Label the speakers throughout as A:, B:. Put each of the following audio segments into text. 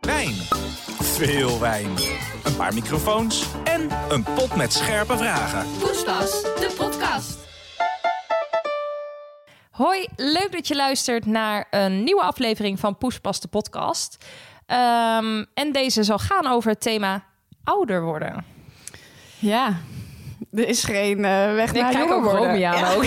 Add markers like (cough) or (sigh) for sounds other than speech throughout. A: Wijn.
B: Veel wijn. Een paar microfoons en een pot met scherpe vragen.
C: Poespas, de podcast.
D: Hoi, leuk dat je luistert naar een nieuwe aflevering van Poespas de podcast. Ehm, en deze zal gaan over het thema ouder worden.
E: Ja, er is geen eh, weg naar jonger worden.
D: ja. ook.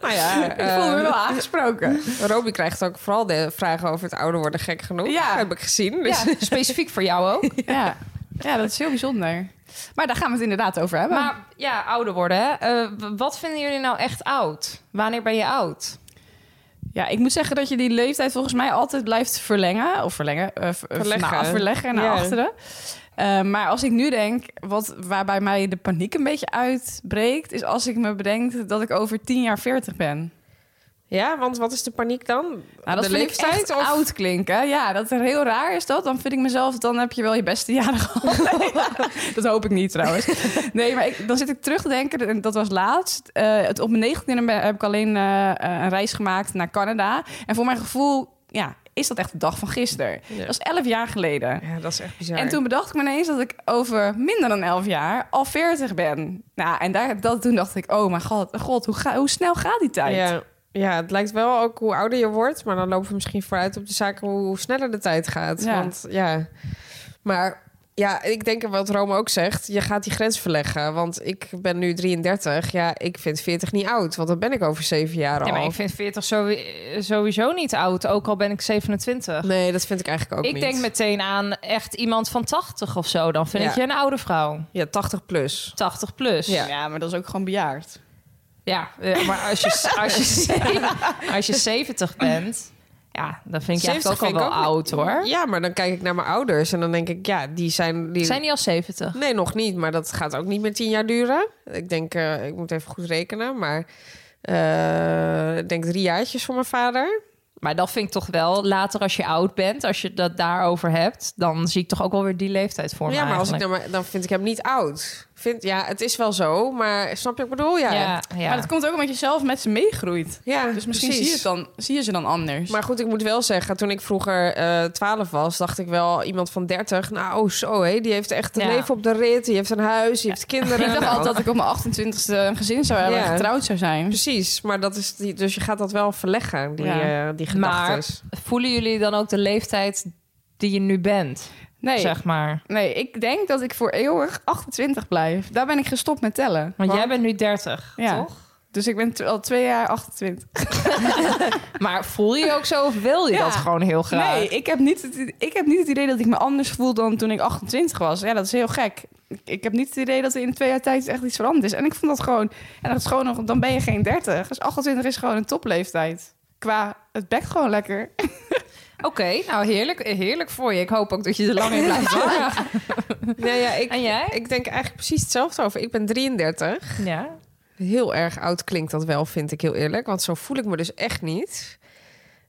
E: Nou ja, (laughs) ik voel me wel aangesproken.
F: (laughs) Romy krijgt ook vooral de vragen over het ouder worden gek genoeg.
E: Ja.
F: Heb ik gezien. Dus. (laughs)
D: Ja, specifiek voor jou ook.
E: (laughs) Ja. ja, dat is heel bijzonder. Maar daar gaan we het inderdaad over hebben.
D: Maar ja, ouder worden. hè. Eh, w- wat vinden jullie nou echt oud? Wanneer ben je oud?
E: ja, ik moet zeggen dat je die leeftijd volgens mij altijd blijft verlengen. Of verlengen. eh, ver-
F: Verleggen.
E: nou, verleggen naar
F: Ja.
E: achteren. Eh, maar als ik nu denk, wat, waarbij mij de paniek een beetje uitbreekt... is als ik me bedenk dat ik over tien jaar veertig ben.
F: ja, want wat is de paniek dan?
E: Nou, dat
F: de
E: vind ik echt oud klinken. Ja, dat er heel raar is dat. Dan vind ik mezelf, dan heb je wel je beste jaren (laughs) gehad. Nee, dat hoop ik niet trouwens. Nee, maar ik, dan zit ik terug te denken, en dat was laatst. Eh, het, op mijn negentiende heb ik alleen eh, eh, een reis gemaakt naar Canada. En voor mijn gevoel, ja, is dat echt de dag van gisteren.
F: Ja.
E: Dat is elf jaar geleden.
F: Ja, dat is echt bizar.
E: En toen bedacht ik me ineens dat ik over minder dan 11 jaar al 40 ben. Nou, en daar, dat, toen dacht ik, oh mijn god, god hoe, ga, hoe snel gaat die tijd?
F: Ja. ja, het lijkt wel ook hoe ouder je wordt, maar dan lopen we misschien vooruit op de zaak hoe, hoe sneller de tijd gaat.
E: Ja.
F: Want ja, maar ja, ik denk wat Rome ook zegt, je gaat die grens verleggen. Want ik ben nu 33, ja, ik vind 40 niet oud, want dan ben ik over zeven jaar al.
D: Ja, maar ik vind 40 sowie- sowieso niet oud, ook al ben ik
F: (laughs)
D: 27.
F: Nee, dat vind ik eigenlijk ook
D: ik
F: niet.
D: denk meteen aan echt iemand van 80 of zo. Dan vind
F: Ja.
D: ik je een oude vrouw.
F: Ja, 80 plus.
D: 80 plus.
F: Ja.
E: ja, maar dat is ook gewoon bejaard.
D: Ja, eh, maar als je, als,
F: (laughs)
D: je, ze- als je 70 bent, ja, dan vind ik je echt
F: 70
D: ook al
F: vind
D: wel
F: ik ook-
D: oud hoor.
F: Ja, maar dan kijk ik naar mijn ouders en dan denk ik, ja, die zijn... Die...
D: Zijn die al 70?
F: Nee, nog niet, maar dat gaat ook niet meer tien jaar duren. Ik denk, eh, ik moet even goed rekenen, maar eh, ik denk drie jaartjes voor mijn vader.
D: Maar dat vind ik toch wel later als je oud bent, als je dat daarover hebt, dan zie ik toch ook wel weer die leeftijd voor me.
F: ja, maar als ik
D: eigenlijk.
F: dan, maar- dan vind ik hem niet oud. Vind, ja, het is wel zo, maar snap je wat ik bedoel? Ja,
D: ja, ja.
E: Maar dat komt ook omdat je zelf met ze meegroeit.
F: Ja,
E: Dus misschien
F: precies.
E: zie je, het dan, zie je ze dan anders.
F: Maar goed, ik moet wel zeggen, toen ik vroeger eh 12 was, dacht ik wel iemand van 30. Nou, oh, zo hé, die heeft echt een
D: Ja.
F: leven op de rit, die heeft een huis, die heeft
D: (laughs)
F: kinderen.
E: ik dacht
F: Nou,
E: altijd dat ik op mijn 28e een gezin zou hebben
F: Ja. Dus-
E: en getrouwd zou zijn.
F: Precies, maar dat is die, dus je gaat dat wel verleggen, die,
E: Ja.
F: eh, die
D: Maar
F: gedachtes.
D: voelen jullie dan ook de leeftijd die je nu bent,
E: Nee,
D: zeg maar?
E: nee, ik denk dat ik voor eeuwig 28 blijf. Daar ben ik gestopt met tellen.
D: Want jij bent nu 30,
E: Ja.
D: toch?
E: Dus ik ben tw- al twee jaar 28.
D: Maar voel je ook zo of wil je
E: Ja.
D: dat gewoon heel graag?
E: Nee, ik heb, niet het, ik heb niet het idee dat ik me anders voel dan toen ik 28 was. Ja, dat is heel gek. Ik- Ik heb niet het idee dat er in twee jaar tijd echt iets veranderd is. En ik vond dat gewoon... En dat is gewoon nog, dan ben je geen 30. Dus 28 is gewoon een topleeftijd. Qua, het bekt gewoon lekker.
D: Oké, nou heerlijk, heerlijk voor je. Ik hoop ook dat je er lang in
F: (laughs)
D: blijft hangen.
F: Nee, ja, ik,
D: En jij?
F: ik denk eigenlijk precies hetzelfde over. Ik ben 33.
D: Ja.
F: Heel erg oud klinkt dat wel, vind ik heel eerlijk. Want zo voel ik me dus echt niet.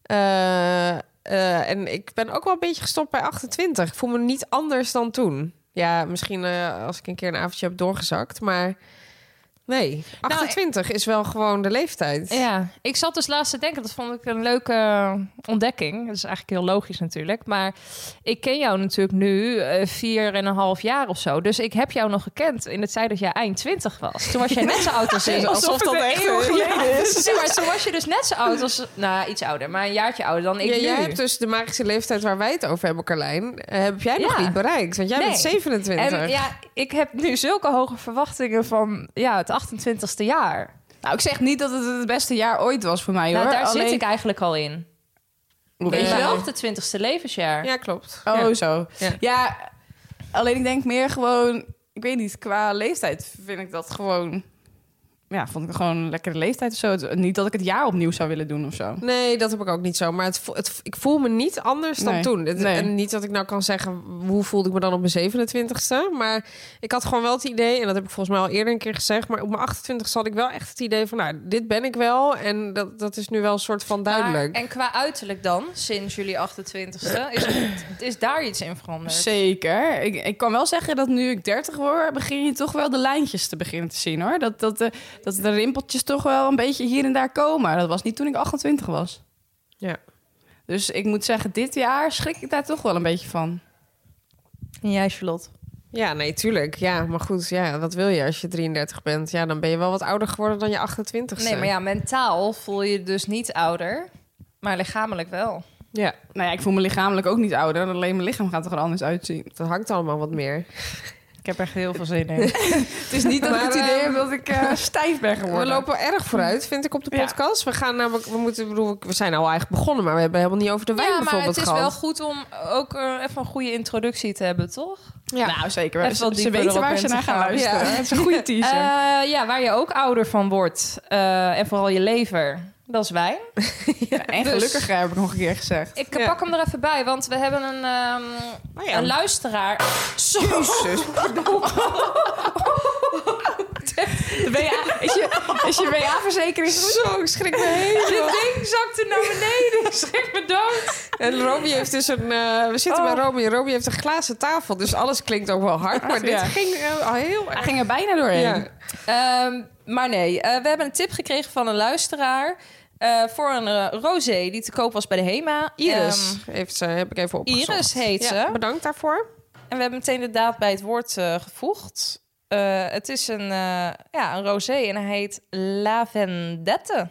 F: Eh, eh, en ik ben ook wel een beetje gestopt bij 28. Ik voel me niet anders dan toen. Ja, misschien eh, als ik een keer een avondje heb doorgezakt. Maar nee, 28 is wel gewoon de leeftijd.
D: Nou, Ja, ik zat dus laatst te denken, dat vond ik een leuke ontdekking. Dat is eigenlijk heel logisch natuurlijk. Maar ik ken jou natuurlijk nu eh, vier en een half jaar of zo. Dus ik heb jou nog gekend in het tijd dat jij eind twintig was. Toen was jij net zo oud als ik.
F: Alsof dat echt is.
D: Nee, maar toen was je dus net zo oud als... Nou, iets ouder, maar een jaartje ouder dan ik
F: Ja,
D: nu.
F: jij hebt dus de magische leeftijd waar wij het over hebben, Carlijn. eh, heb jij nog
D: Ja.
F: niet bereikt? Want jij
D: Nee.
F: bent 27.
D: en ja, ik heb nu zulke hoge verwachtingen van ja, het 28ste jaar.
E: Nou, ik zeg niet dat het het beste jaar ooit was voor mij,
D: Nou,
E: hoor.
D: daar
E: Alleen-
D: zit ik eigenlijk al in.
E: Hoe
D: Weet
E: weet
D: je
E: je
D: wel?
E: dat?
D: 28ste levensjaar.
F: ja klopt.
E: Oh,
F: Ja.
E: zo.
F: Ja.
E: Ja. alleen ik denk meer gewoon... Ik weet niet, qua leeftijd vind ik dat gewoon... ja, vond ik gewoon een lekkere leeftijd of zo. Het- Niet dat ik het jaar opnieuw zou willen doen of zo.
F: Nee, dat heb ik ook niet zo. Maar het, vo- het, ik voel me niet anders dan
E: Nee,
F: toen. Het-
E: nee.
F: En niet dat ik nou kan zeggen hoe voelde ik me dan op mijn 27ste. Maar ik had gewoon wel het idee, en dat heb ik volgens mij al eerder een keer gezegd. Maar op mijn 28ste had ik wel echt het idee van, nou, dit ben ik wel. En dat, dat is nu wel een soort van duidelijk.
D: en qua uiterlijk dan, sinds jullie 28e, is, het- is daar iets in veranderd?
E: Zeker. Ik, ik kan wel zeggen dat nu ik 30 word, begin je toch wel de lijntjes te beginnen te zien hoor. Dat, dat, de, dat de rimpeltjes toch wel een beetje hier en daar komen. Dat was niet toen ik 28 was.
F: Ja.
E: Dus ik moet zeggen, dit jaar schrik ik daar toch wel een beetje van.
D: En jij, Charlotte?
F: ja, nee, tuurlijk. Ja, maar goed, ja, wat wil je als je 33 bent? Ja, dan ben je wel wat ouder geworden dan je 28ste.
D: Nee, maar ja, mentaal voel je je dus niet ouder, maar lichamelijk wel.
F: ja,
E: Nou ja, ik voel me lichamelijk ook niet ouder. Alleen mijn lichaam gaat er gewoon anders uitzien.
F: dat hangt allemaal wat meer.
D: Ik heb echt heel veel zin in.
E: Het is niet dat ik
F: Maar,
E: het idee
F: ehm,
E: heb dat
D: (laughs)
E: ik eh, stijf ben
F: We
E: geworden.
F: lopen erg vooruit, vind ik, op de
E: Ja.
F: podcast. We gaan namelijk, we moeten, ik bedoel, we zijn al eigenlijk begonnen, maar we hebben helemaal niet over de wijn
D: ja, maar
F: bijvoorbeeld
D: het is
F: gehad.
D: wel goed om ook eh, even een goede introductie te hebben, toch?
F: Ja.
E: Nou, zeker.
D: Even
E: ze
D: wat
E: ze
D: dieper
E: weten
D: erop
E: waar
D: in
E: ze
D: te
E: naar gaan
D: gaan.
E: luisteren.
F: Ja.
E: Het is een goede
D: (laughs)
E: teaser.
D: Eh, ja, waar je ook ouder van wordt. eh, en vooral je lever. Dat is
F: (laughs)
D: wijn.
E: en
D: dus-
E: gelukkig heb ik nog een keer gezegd.
D: Ik eh, pak hem er even bij, want we hebben een, ehm,
F: Nou ja.
D: een luisteraar. Zo. (laughs)
E: De WA, is (laughs) je, is je WA-verzekering goed?
F: Zo, ik schrik me (laughs) helemaal.
D: Dit ding zakte naar beneden. (laughs) Ik schrik me dood.
F: En Romy heeft dus een... eh, we zitten
D: Oh.
F: bij Romy. en Romy heeft een glazen tafel. Dus alles klinkt ook wel hard. Maar dit
E: Ja.
F: ging eh, al heel
E: Hij
F: erg...
E: ging er bijna doorheen.
F: Ja.
D: Ehm, maar nee, eh, we hebben een tip gekregen van een luisteraar. eh, voor een eh, rosé die te koop was bij de HEMA.
F: Iris
D: Ehm,
F: heeft ze, heb ik even opgezocht.
D: Iris heet
F: Ja,
D: ze.
F: Bedankt daarvoor.
D: En we hebben meteen de daad bij het woord eh, gevoegd. Eh, het is een, eh, ja, een rosé en hij heet La Vendette.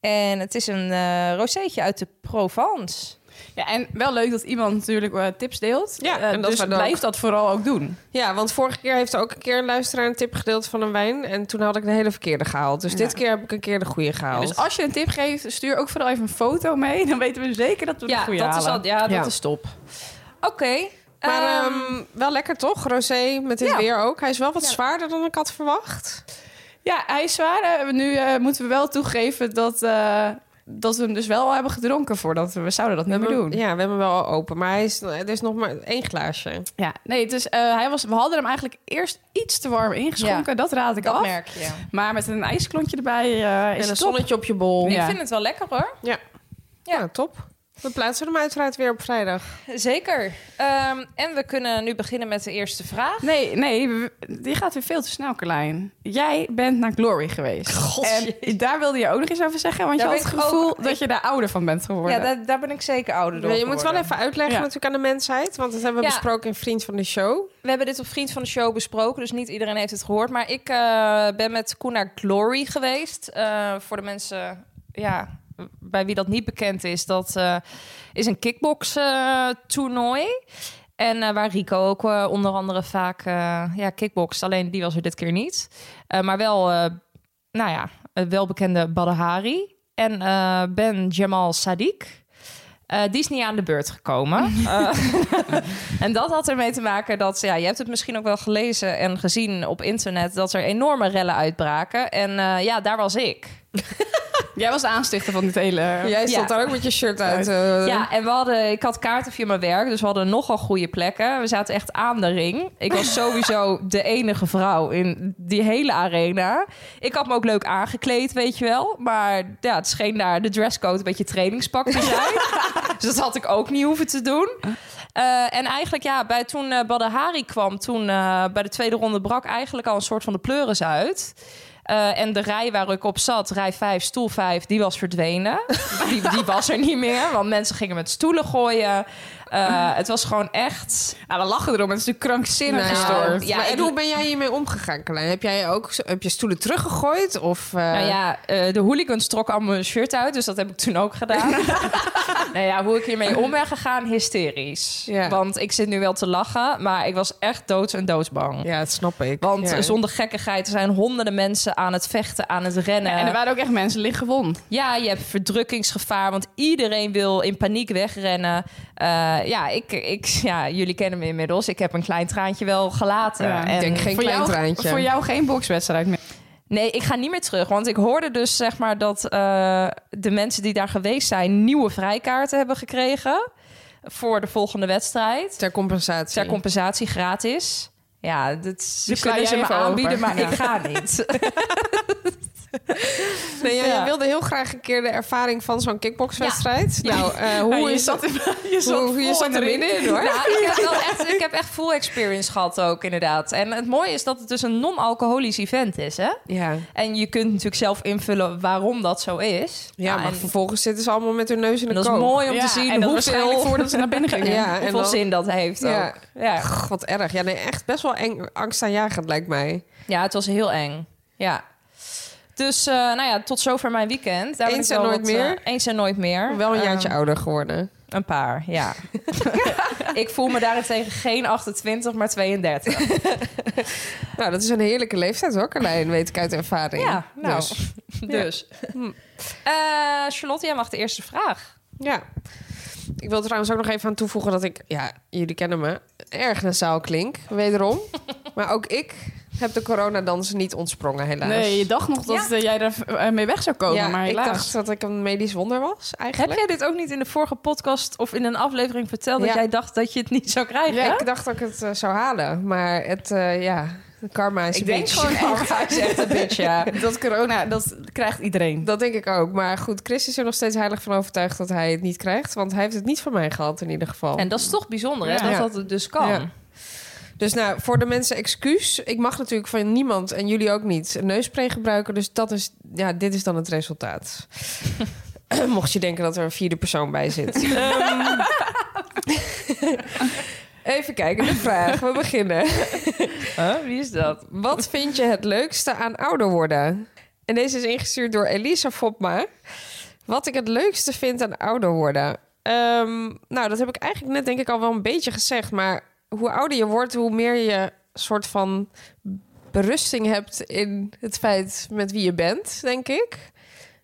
D: En het is een eh roséetje uit de Provence.
E: Ja, en wel leuk dat iemand natuurlijk eh, tips deelt.
F: Ja,
E: Eh,
F: en dat
E: dus
F: we dat-
E: blijf dat vooral ook doen.
F: Ja, want vorige keer heeft ook een keer een luisteraar een tip gedeeld van een wijn. En toen had ik de hele verkeerde gehaald. Dus dit keer heb ik een keer de goede gehaald.
E: Dus als je een tip geeft, stuur ook vooral even een foto mee. Dan weten we zeker dat we de
D: Ja,
E: goede
D: dat is,
E: halen.
D: al, ja, dat
F: Ja.
D: is top. Oké.
F: Maar
D: ehm,
F: ehm, wel lekker toch, Rosé, met dit
D: ja.
F: weer ook. Hij is wel wat
D: Ja.
F: zwaarder dan ik had verwacht.
E: Ja, hij is zwaar. Eh, Nu eh, moeten we wel toegeven dat, eh, dat we hem dus wel al hebben gedronken voordat we, we zouden dat niet meer doen.
F: Ja, we hebben hem wel open. Maar hij is, er is nog maar één glaasje.
E: Ja, nee, het is, eh, hij was, we hadden hem eigenlijk eerst iets te warm ingeschonken. Dat raad ik
D: dat
F: Oh.
E: af.
D: merk je.
E: Maar met een ijsklontje erbij eh, is
F: en een
E: het top.
F: zonnetje op je bol.
E: Ja.
D: Ik vind het wel lekker hoor.
F: Ja.
D: Ja.
F: Ja, top. We plaatsen hem uiteraard weer op vrijdag.
D: Zeker. Ehm, en we kunnen nu beginnen met de eerste vraag.
E: Nee, nee, we- die gaat weer veel te snel, Carlijn. Jij bent naar Glory geweest. en daar wilde je ook nog eens over zeggen, want
D: Daar
E: je
D: ben
E: had het
D: ik
E: gevoel
D: ook-
E: dat je daar ouder van bent geworden.
D: Ja, daar, daar ben ik zeker ouder door
F: je moet wel
D: geworden.
F: even uitleggen
E: Ja.
F: natuurlijk aan de mensheid. Want dat hebben we
D: Ja.
F: besproken in Vriend van de Show.
D: We hebben dit op Vriend van de Show besproken, dus niet iedereen heeft het gehoord. Maar ik eh, ben met Koen naar Glory geweest. Eh, voor de mensen ja, bij wie dat niet bekend is, dat eh, is een kickbox-toernooi. en eh, waar Rico ook eh, onder andere vaak eh ja, kickboxt, alleen die was er dit keer niet. Eh, maar wel, eh, nou ja, het welbekende Badahari. En eh, Ben Jamal Sadiq. Eh, die is niet aan de beurt gekomen. Eh, en dat had ermee te maken dat, ja, je hebt het misschien ook wel gelezen en gezien op internet, dat er enorme rellen uitbraken. En eh, ja, daar was ik.
E: Jij was de aanstichter van dit hele...
F: Jij
D: eh, Ja.
F: stond daar ook met je shirt uit. eh,
D: Ja, en we hadden, ik had kaarten via mijn werk, dus we hadden nogal goede plekken. We zaten echt aan de ring. Ik was
F: (laughs)
D: sowieso de enige vrouw in die hele arena. Ik had me ook leuk aangekleed, weet je wel. Maar ja, het scheen daar de dresscode een beetje trainingspak te
F: (laughs)
D: zijn. dus dat had ik ook niet hoeven te doen. Eh, en eigenlijk, ja, bij, toen eh, Badahari kwam, toen eh, bij de tweede ronde brak eigenlijk al een soort van de pleuris uit. Eh, en de rij waar ik op zat, rij 5, stoel 5, die was verdwenen. (laughs) die, die was er niet meer, want mensen gingen met stoelen gooien. Eh, het was gewoon echt.
E: Nou, we lachen erom, het is natuurlijk krankzinnig
F: nou,
E: gestoord.
D: ja,
F: maar en
D: ik-
F: hoe ben jij hiermee omgegaan, Carlijn? Heb jij ook zo- heb je stoelen teruggegooid? Of, eh,
D: Nou ja, eh, de hooligans trokken allemaal mijn shirt uit, dus dat heb ik toen ook
E: (laughs)
D: gedaan. nou ja, hoe ik hiermee om ben gegaan, hysterisch.
F: Ja.
D: Want ik zit nu wel te lachen, maar ik was echt doods en doodsbang.
F: ja, dat snap ik.
D: Want
F: Ja.
D: eh, zonder gekkigheid er zijn honderden mensen aan het vechten, aan het rennen.
E: En er waren ook echt mensen licht gewond.
D: Ja, je hebt verdrukkingsgevaar, want iedereen wil in paniek wegrennen. Eh, ja, ik, ik, ja, jullie kennen me inmiddels. Ik heb een klein traantje wel gelaten.
E: Ja, ik
D: en
F: denk geen
E: voor
F: klein
E: jou,
F: traantje.
E: Voor jou geen bokswedstrijd meer.
D: Nee, ik ga niet meer terug. Want ik hoorde dus zeg maar dat eh, de mensen die daar geweest zijn... nieuwe vrijkaarten hebben gekregen voor de volgende wedstrijd.
F: Ter compensatie.
D: Ter compensatie gratis. Ja, dat ze
E: sla
D: kunnen
E: jij
D: ze me
E: even
D: aanbieden,
E: open.
D: maar
E: Ja.
D: ik ga niet.
F: nee, ja,
D: Ja.
F: Je wilde heel graag een keer de ervaring van zo'n kickboxwedstrijd. Nou, eh, hoe is dat?
E: Je
F: Hoe, je zat er middenin hoor.
D: Ja, ik heb wel echt, ik heb echt full experience gehad ook inderdaad. En het mooie is dat het dus een non-alcoholisch event is, hè?
F: Ja,
D: En je kunt natuurlijk zelf invullen waarom dat zo is.
F: ja
D: Nou,
F: maar
D: en-
F: vervolgens zitten ze allemaal met hun neus in de
D: en dat is
F: kook.
D: mooi om
E: Ja,
D: te zien
E: en dat
D: hoeveel,
E: waarschijnlijk
D: (laughs)
E: voordat ze naar binnen gingen.
F: (laughs) Ja, en
D: hoeveel
F: dan-
D: zin dat heeft
F: Ja.
D: ook. Ja.
F: Ach, Wat erg. Ja, nee, echt best wel eng, angstaanjagend lijkt mij.
D: ja, het was heel eng. Ja. Dus, eh, nou ja, tot zover mijn weekend. Daar ben
F: Eens
D: ik
F: en
D: wel
F: nooit
D: wat, eh,
F: meer?
D: eens en nooit meer.
F: Wel een
D: Eh,
F: jaartje ouder geworden.
D: Een paar,
F: (laughs)
D: ja. ik voel me daarentegen geen 28, maar 32.
F: Nou, dat is een heerlijke leeftijd hoor, Carlijn, weet ik uit ervaring.
D: Ja, nou.
F: Dus,
D: (laughs) Dus. Eh, Charlotte, jij mag de eerste vraag.
F: ja. Ik wil trouwens ook nog even aan toevoegen dat ik, ja, jullie kennen me, erg nasaal klink, wederom.
D: (laughs)
F: maar ook ik heb de coronadans niet ontsprongen, helaas.
E: Nee, je dacht nog dat eh, jij daar eh, mee weg zou komen,
F: ja,
E: maar
F: ik
E: helaas.
F: dacht dat ik een medisch wonder was,
D: Heb
F: eigenlijk.
D: jij dit ook niet in de vorige podcast of in een aflevering verteld
F: Ja.
D: dat jij dacht dat je het niet zou krijgen?
E: Ja?
F: Ik dacht dat ik het eh, zou halen, maar het, eh, ja, karma is
D: Ik
F: een
D: denk
F: bitch.
D: (laughs) gewoon echt, hij is echt een bitch, (laughs) ja.
E: dat corona, dat krijgt iedereen.
F: (laughs) Dat denk ik ook. Maar goed, Chris is er nog steeds heilig van overtuigd dat hij het niet krijgt. Want hij heeft het niet van mij gehad in ieder geval.
D: En dat is toch bijzonder, hè?
F: Ja.
D: Dat dat het dus kan.
F: Ja. Dus nou, voor de mensen excuus. Ik mag natuurlijk van niemand en jullie ook niet een neuspray gebruiken. Dus dat is, ja, dit is dan het resultaat. (clears throat) Mocht je denken dat er een vierde persoon bij zit. Ehm, (laughs) Even kijken, de vraag. We beginnen.
D: Huh? Wie is dat?
F: Wat vind je het leukste aan ouder worden? En deze is ingestuurd door Elisa Fopma. Wat ik het leukste vind aan ouder worden. Ehm, nou, dat heb ik eigenlijk net denk ik al wel een beetje gezegd. Maar hoe ouder je wordt, hoe meer je soort van berusting hebt in het feit met wie je bent, denk ik.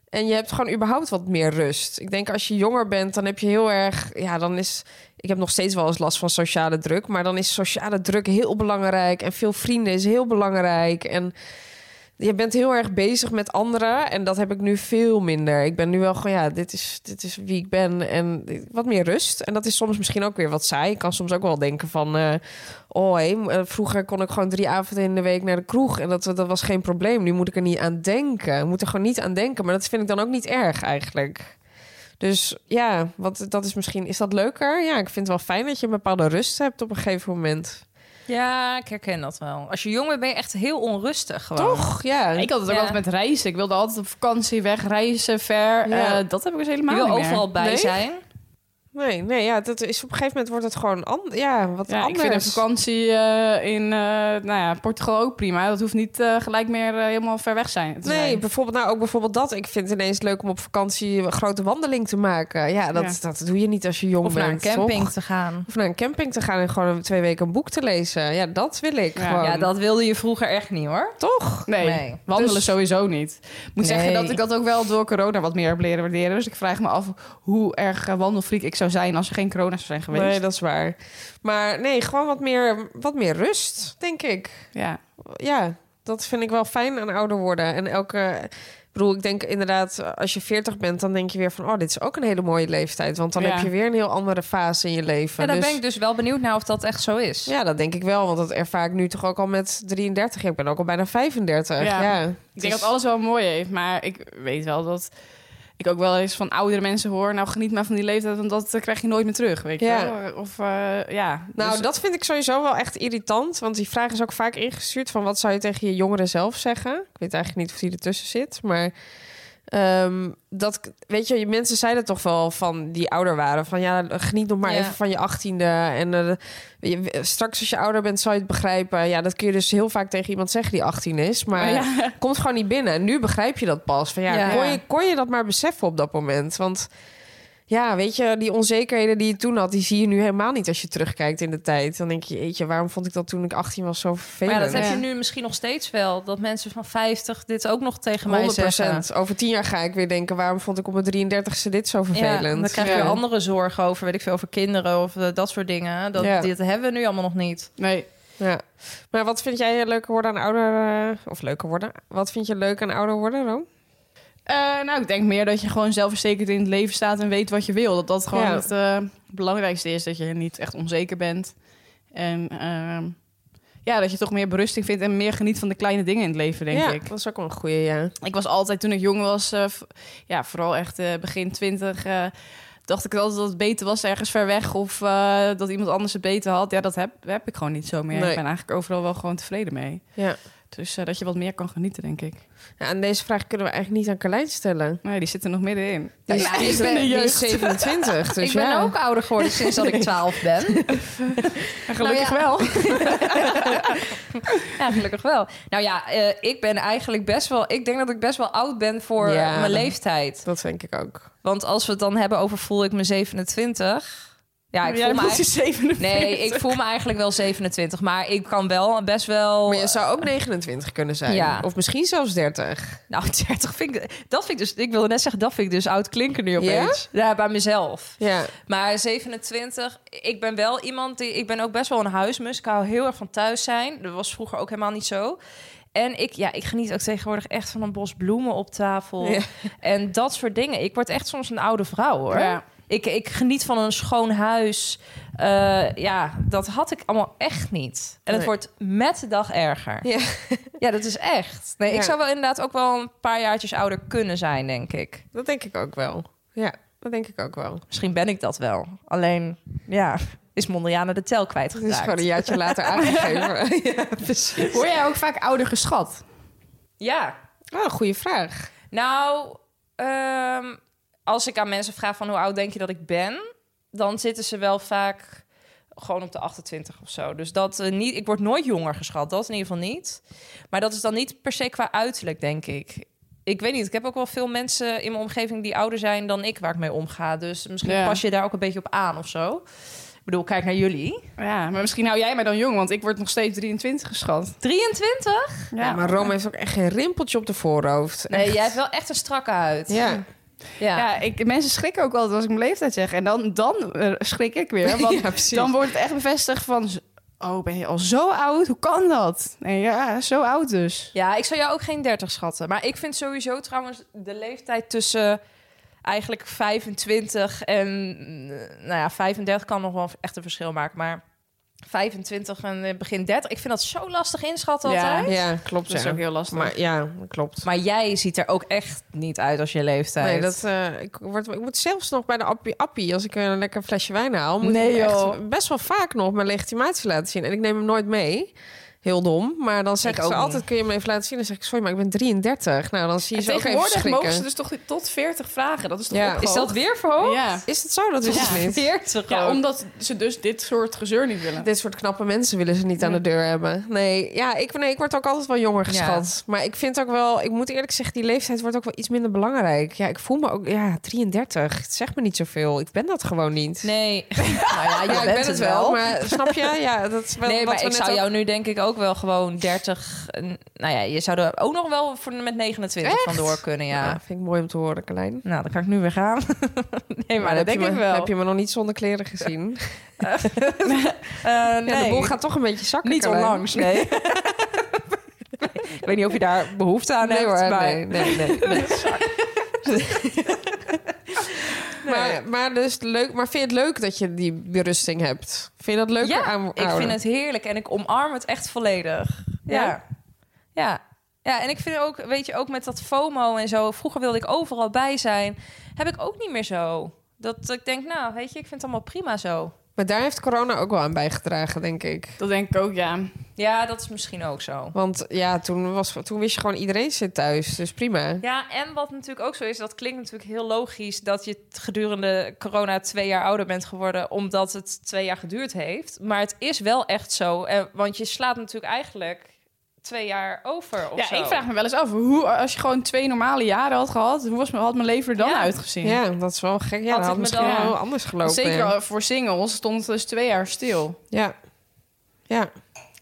F: En je hebt gewoon überhaupt wat meer rust. Ik denk als je jonger bent, dan heb je heel erg. Ja, dan is. Ik heb nog steeds wel eens last van sociale druk. Maar dan is sociale druk heel belangrijk. En veel vrienden is heel belangrijk. En je bent heel erg bezig met anderen. En dat heb ik nu veel minder. Ik ben nu wel gewoon, ja, dit is, dit is wie ik ben. En wat meer rust. En dat is soms misschien ook weer wat saai. Ik kan soms ook wel denken van... eh, oh, hé, m- eh, vroeger kon ik gewoon drie avonden in de week naar de kroeg. En dat, dat was geen probleem. Nu moet ik er niet aan denken. Ik moet er gewoon niet aan denken. Maar dat vind ik dan ook niet erg eigenlijk. Dus ja, want dat is misschien... Is dat leuker? Ja, ik vind het wel fijn dat je een bepaalde rust hebt op een gegeven moment.
D: Ja, ik herken dat wel. Als je jong bent, ben je echt heel onrustig gewoon.
F: Toch? Ja.
E: Ik had het ook
D: Ja.
E: altijd met reizen. Ik wilde altijd op vakantie weg, reizen, ver.
F: Ja.
E: Eh, dat heb ik dus
D: Je
E: helemaal
D: wil
E: niet meer.
D: overal bij
F: Nee?
D: zijn.
F: Nee, nee, ja, dat is op een gegeven moment wordt het gewoon an- ja, wat
E: Ja, ik
F: anders.
E: vind een vakantie eh, in eh, nou ja, Portugal ook prima. Dat hoeft niet eh, gelijk meer eh, helemaal ver weg zijn. te
F: Nee,
E: zijn.
F: bijvoorbeeld, nou ook bijvoorbeeld dat. Ik vind het ineens leuk om op vakantie een grote wandeling te maken. Ja, dat,
E: Ja.
F: dat doe je niet als je jong
D: Of
F: bent.
D: naar een camping
F: toch?
D: te gaan.
F: Of naar een camping te gaan en gewoon twee weken een boek te lezen. Ja, dat wil ik
E: Ja.
F: gewoon.
D: Ja, dat wilde je vroeger echt niet, hoor.
F: Toch?
E: Nee,
D: Nee.
E: wandelen
F: Dus-
E: sowieso niet. Ik moet
D: Nee.
E: zeggen dat ik dat ook wel door corona wat meer heb leren waarderen. Dus ik vraag me af hoe erg eh, wandelfreak ik zou zijn als er geen corona zou zijn geweest.
F: Nee, dat is waar. Maar nee, gewoon wat meer, wat meer rust, denk ik.
E: Ja.
F: ja, dat vind ik wel fijn aan ouder worden. En elke. Ik bedoel, ik denk inderdaad, als je 40 bent, dan denk je weer van, oh, dit is ook een hele mooie leeftijd. Want dan
E: Ja.
F: heb je weer een heel andere fase in je leven.
D: Ja, daar
F: Dus-
D: ben ik dus wel benieuwd naar of dat echt zo is.
E: dus-
F: ja, dat denk ik wel, want dat ervaar ik nu toch ook al met 33. Ik ben ook al bijna 35. Ja,
E: Ja. Ik denk
F: Dus-
E: dat alles wel mooi heeft, maar ik weet wel dat ik ook wel eens van oudere mensen hoor. Nou, geniet maar van die leeftijd, want dat eh, krijg je nooit meer terug. Weet je
F: Ja.
E: wel? Of eh, ja.
F: Nou,
E: Dus-
F: dat vind ik sowieso wel echt irritant. Want die vraag is ook vaak ingestuurd van wat zou je tegen je jongeren zelf zeggen? Ik weet eigenlijk niet of die ertussen zit. Maar ehm, dat, weet je, mensen zeiden toch wel van die ouder waren. Van ja, geniet nog maar
D: Ja.
F: even van je achttiende. En eh, je- straks als je ouder bent zal je het begrijpen. Ja, dat kun je dus heel vaak tegen iemand zeggen die 18 is. Maar
E: Ja.
F: komt gewoon niet binnen. En nu begrijp je dat pas. Van ja,
D: Ja.
F: Kon, je, kon je dat maar beseffen op dat moment? Want ja, weet je, die onzekerheden die je toen had, die zie je nu helemaal niet als je terugkijkt in de tijd. Dan denk je, eetje, waarom vond ik dat toen ik 18 was zo
D: Maar ja,
F: vervelend?
D: dat heb
E: Ja.
D: je nu misschien nog steeds wel. Dat mensen van 50 dit ook nog tegen mij
F: 100
D: zeggen.
F: Over tien jaar ga ik weer denken, waarom vond ik op mijn 33ste dit zo
D: Ja,
F: vervelend?
D: dan krijg je
E: Ja.
D: weer andere zorgen over, weet ik veel, over kinderen of eh, dat soort dingen. Dat,
F: Ja.
D: Dit hebben we nu allemaal nog niet.
E: Nee.
F: Ja. Maar wat vind jij leuker worden aan ouder... eh, of leuker worden? Wat vind je leuk aan ouder worden, Rom?
E: Eh, nou, ik denk meer dat je gewoon zelfverzekerd in het leven staat en weet wat je wil. Dat dat gewoon
F: Ja.
E: het eh, belangrijkste is. Dat je niet echt onzeker bent. En ehm, ja, dat je toch meer berusting vindt en meer geniet van de kleine dingen in het leven, denk
F: ja,
E: ik.
F: dat is ook wel een goede, ja.
E: Ik was altijd, toen ik jong was, eh, v- ja, vooral echt eh, begin twintig... eh, dacht ik altijd dat het beter was ergens ver weg of eh, dat iemand anders het beter had. Ja, dat heb, heb ik gewoon niet zo meer.
F: Nee.
E: Ik ben eigenlijk overal wel gewoon tevreden mee.
F: ja.
E: Dus eh, dat je wat meer kan genieten, denk ik.
F: Ja, En deze vraag kunnen we eigenlijk niet aan Carlijn stellen.
E: Nee, die zit er nog middenin.
F: Die
D: Ja,
F: is,
D: ik ben-
F: die is
D: Dus die is
F: 27,
D: (laughs)
F: dus
D: ik ben
F: ja.
D: ook ouder geworden sinds dat ik 12 ben.
E: Gelukkig
D: Nou ja.
E: wel.
D: (laughs) Ja, gelukkig wel. Nou ja, eh, ik ben eigenlijk best wel... Ik denk dat ik best wel oud ben voor
F: Ja,
D: eh, mijn
F: dan-
D: leeftijd.
F: Dat denk ik ook.
D: Want als we het dan hebben over voel ik me 27... Ja, ik
E: Jij
D: voel me
E: voelt je
D: eigenlijk-
E: 47.
D: (laughs) Nee, ik voel me eigenlijk wel 27. Maar ik kan wel best wel...
F: Maar je zou ook 29 kunnen zijn.
D: Ja.
F: Of misschien zelfs 30.
D: Nou, (laughs) 30 vind ik... Dat vind ik dus... Ik wilde net zeggen, dat vind ik dus oud klinken nu opeens. Ja, bij mezelf.
F: Ja.
D: Maar 27, ik ben wel iemand die. Ik ben ook best wel een huismus. Ik hou heel erg van thuis zijn. Dat was vroeger ook helemaal niet zo. En ik, ja, ik geniet ook tegenwoordig echt van een bos bloemen op tafel.
F: Ja.
D: En dat soort dingen. Ik word echt soms een oude vrouw hoor.
E: Ja.
D: Ik, ik geniet van een schoon huis. Eh, ja, dat had ik allemaal echt niet. En het
F: Nee.
D: wordt met de dag erger. Ja,
F: Ja.
D: dat is echt. Nee, ik
F: Ja.
D: zou wel inderdaad ook wel een paar jaartjes ouder kunnen zijn, denk ik.
F: Dat denk ik ook wel. Ja, dat denk ik ook wel.
D: Misschien ben ik dat wel. Alleen, ja, is Mondriaan de tel
F: Het is gewoon
D: kwijtgeraakt.
F: een jaartje later aangegeven. ja, precies.
E: Word jij ook vaak ouder geschat?
D: Ja,
F: (laughs) Oh, goede vraag.
D: nou, ehm, als ik aan mensen vraag van hoe oud denk je dat ik ben... dan zitten ze wel vaak gewoon op de 28 of zo. Dus dat eh, niet, ik word nooit jonger geschat, dat in ieder geval niet. Maar dat is dan niet per se qua uiterlijk, denk ik. Ik weet niet, ik heb ook wel veel mensen in mijn omgeving... die ouder zijn dan ik, waar ik mee omga. Dus misschien
E: Ja.
D: pas je daar ook een beetje op aan of zo. Ik bedoel, kijk naar jullie.
E: Ja, maar misschien hou jij mij dan jong, want ik word nog steeds 23 geschat.
D: 23?
E: Ja,
F: Ja, maar Rome heeft ook echt geen rimpeltje op de voorhoofd.
D: Nee, jij hebt wel echt een strakke huid.
F: Ja.
D: ja.
E: ja ik, mensen schrikken ook altijd als ik mijn leeftijd zeg. En dan, dan eh, schrik ik weer, want
F: (laughs) Ja, precies.
E: dan wordt het echt bevestigd van... z- Oh, ben je al zo oud? Hoe kan dat? Nee, ja, zo oud dus.
D: Ja, ik zou jou ook geen 30 schatten. Maar ik vind sowieso trouwens de leeftijd tussen eigenlijk 25 en... eh, Nou ja, 35 kan nog wel echt een verschil maken. Maar 25 en eh, begin 30, ik vind dat zo lastig inschatten
E: Ja.
D: altijd.
F: Ja, klopt.
E: Dat is
F: ja.
E: ook heel lastig.
F: Maar ja, klopt.
D: Maar jij ziet er ook echt niet uit als je leeftijd.
F: Nee, dat, eh, ik, word, ik moet zelfs nog bij de appie, appie als ik weer een lekker flesje wijn haal, moet
E: Nee,
F: ik echt
E: joh.
F: best wel vaak nog mijn legitimatie laten zien. En ik neem hem nooit mee. Heel dom. Maar dan
D: Ik
F: zeggen
D: ook
F: ze
D: niet.
F: altijd, kun je hem even laten zien? Dan zeg ik, sorry, maar ik ben 33. Nou, dan zie je
E: En
F: ze ook even
E: tegenwoordig
F: schrikken.
E: mogen ze dus toch tot 40 vragen. Dat is toch
F: Ja.
E: opgehoogd?
D: Is dat weer verhoogd?
E: Ja.
F: Is het zo? Dat is
E: Ja.
F: het niet.
D: 40
E: ja,
D: ook.
E: omdat ze dus dit soort gezeur niet willen.
F: Dit soort knappe mensen willen ze niet aan de deur hebben. Nee, ja, ik, nee, ik word ook altijd wel jonger geschat. Maar ik vind ook wel, ik moet eerlijk zeggen, die leeftijd wordt ook wel iets minder belangrijk. Ja, ik voel me ook, ja, 33. Het zegt me niet zoveel. Ik ben dat gewoon niet.
D: Nee. (laughs) nou ja, je
F: Ja,
D: bent
F: ik ben
D: het,
F: het
D: wel.
F: wel, maar snap je? Ja, dat is wel
D: nee,
F: wat
D: maar
F: we
D: ik
F: net
D: zou
F: ook-
D: jou nu denk ik ook wel gewoon 30... eh, Nou ja, je zou er ook nog wel voor, met 29 vandoor kunnen, (laughs) ja.
F: Ja, vind ik mooi om te horen, Carlijn. Maar,
D: Nou, dan kan ik nu weer gaan. (laughs) nee, maar, dat
F: dan heb je
D: denk
F: me-
D: ik wel.
F: Heb je me nog niet zonder kleren gezien?
D: Eh,
F: Ja, de
D: nee.
F: bol gaat toch een beetje zakken,
D: niet
F: Carlijn.
D: onlangs,
F: (laughs)
D: nee. ik weet niet of je daar behoefte aan
F: Nee
D: hebt,
F: hoor,
D: maar...
F: nee, nee, nee. (laughs) nee. (laughs) Maar, maar, dus leuk, maar vind je het leuk dat je die berusting hebt? Vind je dat leuk
D: ja,
F: aan
D: ik
F: ouder?
D: vind het heerlijk en ik omarm het echt volledig. Ja.
F: Ja?
D: ja. Ja. en ik vind ook, weet je, ook met dat FOMO en zo... Vroeger wilde ik overal bij zijn. Heb ik ook niet meer zo. Dat ik denk, nou, weet je, ik vind het allemaal prima zo.
F: Maar daar heeft corona ook wel aan bijgedragen, denk ik.
E: Dat denk ik ook, ja.
D: Ja, dat is misschien ook zo.
F: Want ja, toen, was, toen wist je gewoon iedereen zit thuis, dus prima.
D: Ja, en wat natuurlijk ook zo is, dat klinkt natuurlijk heel logisch dat je t- gedurende corona twee jaar ouder bent geworden, omdat het twee jaar geduurd heeft. Maar het is wel echt zo, eh, want je slaat natuurlijk eigenlijk twee jaar over. Of
E: Ja,
D: zo.
E: ik vraag me wel eens af, hoe, als je gewoon twee normale jaren had gehad, hoe was, had mijn leven er dan
D: Ja.
E: uitgezien?
F: Ja, dat is wel gek. Ja,
D: Had
F: dat
D: ik
F: had
D: me
F: misschien
E: dan-
F: wel anders gelopen.
E: Zeker voor singles stond het dus twee jaar stil.
F: Ja. Ja.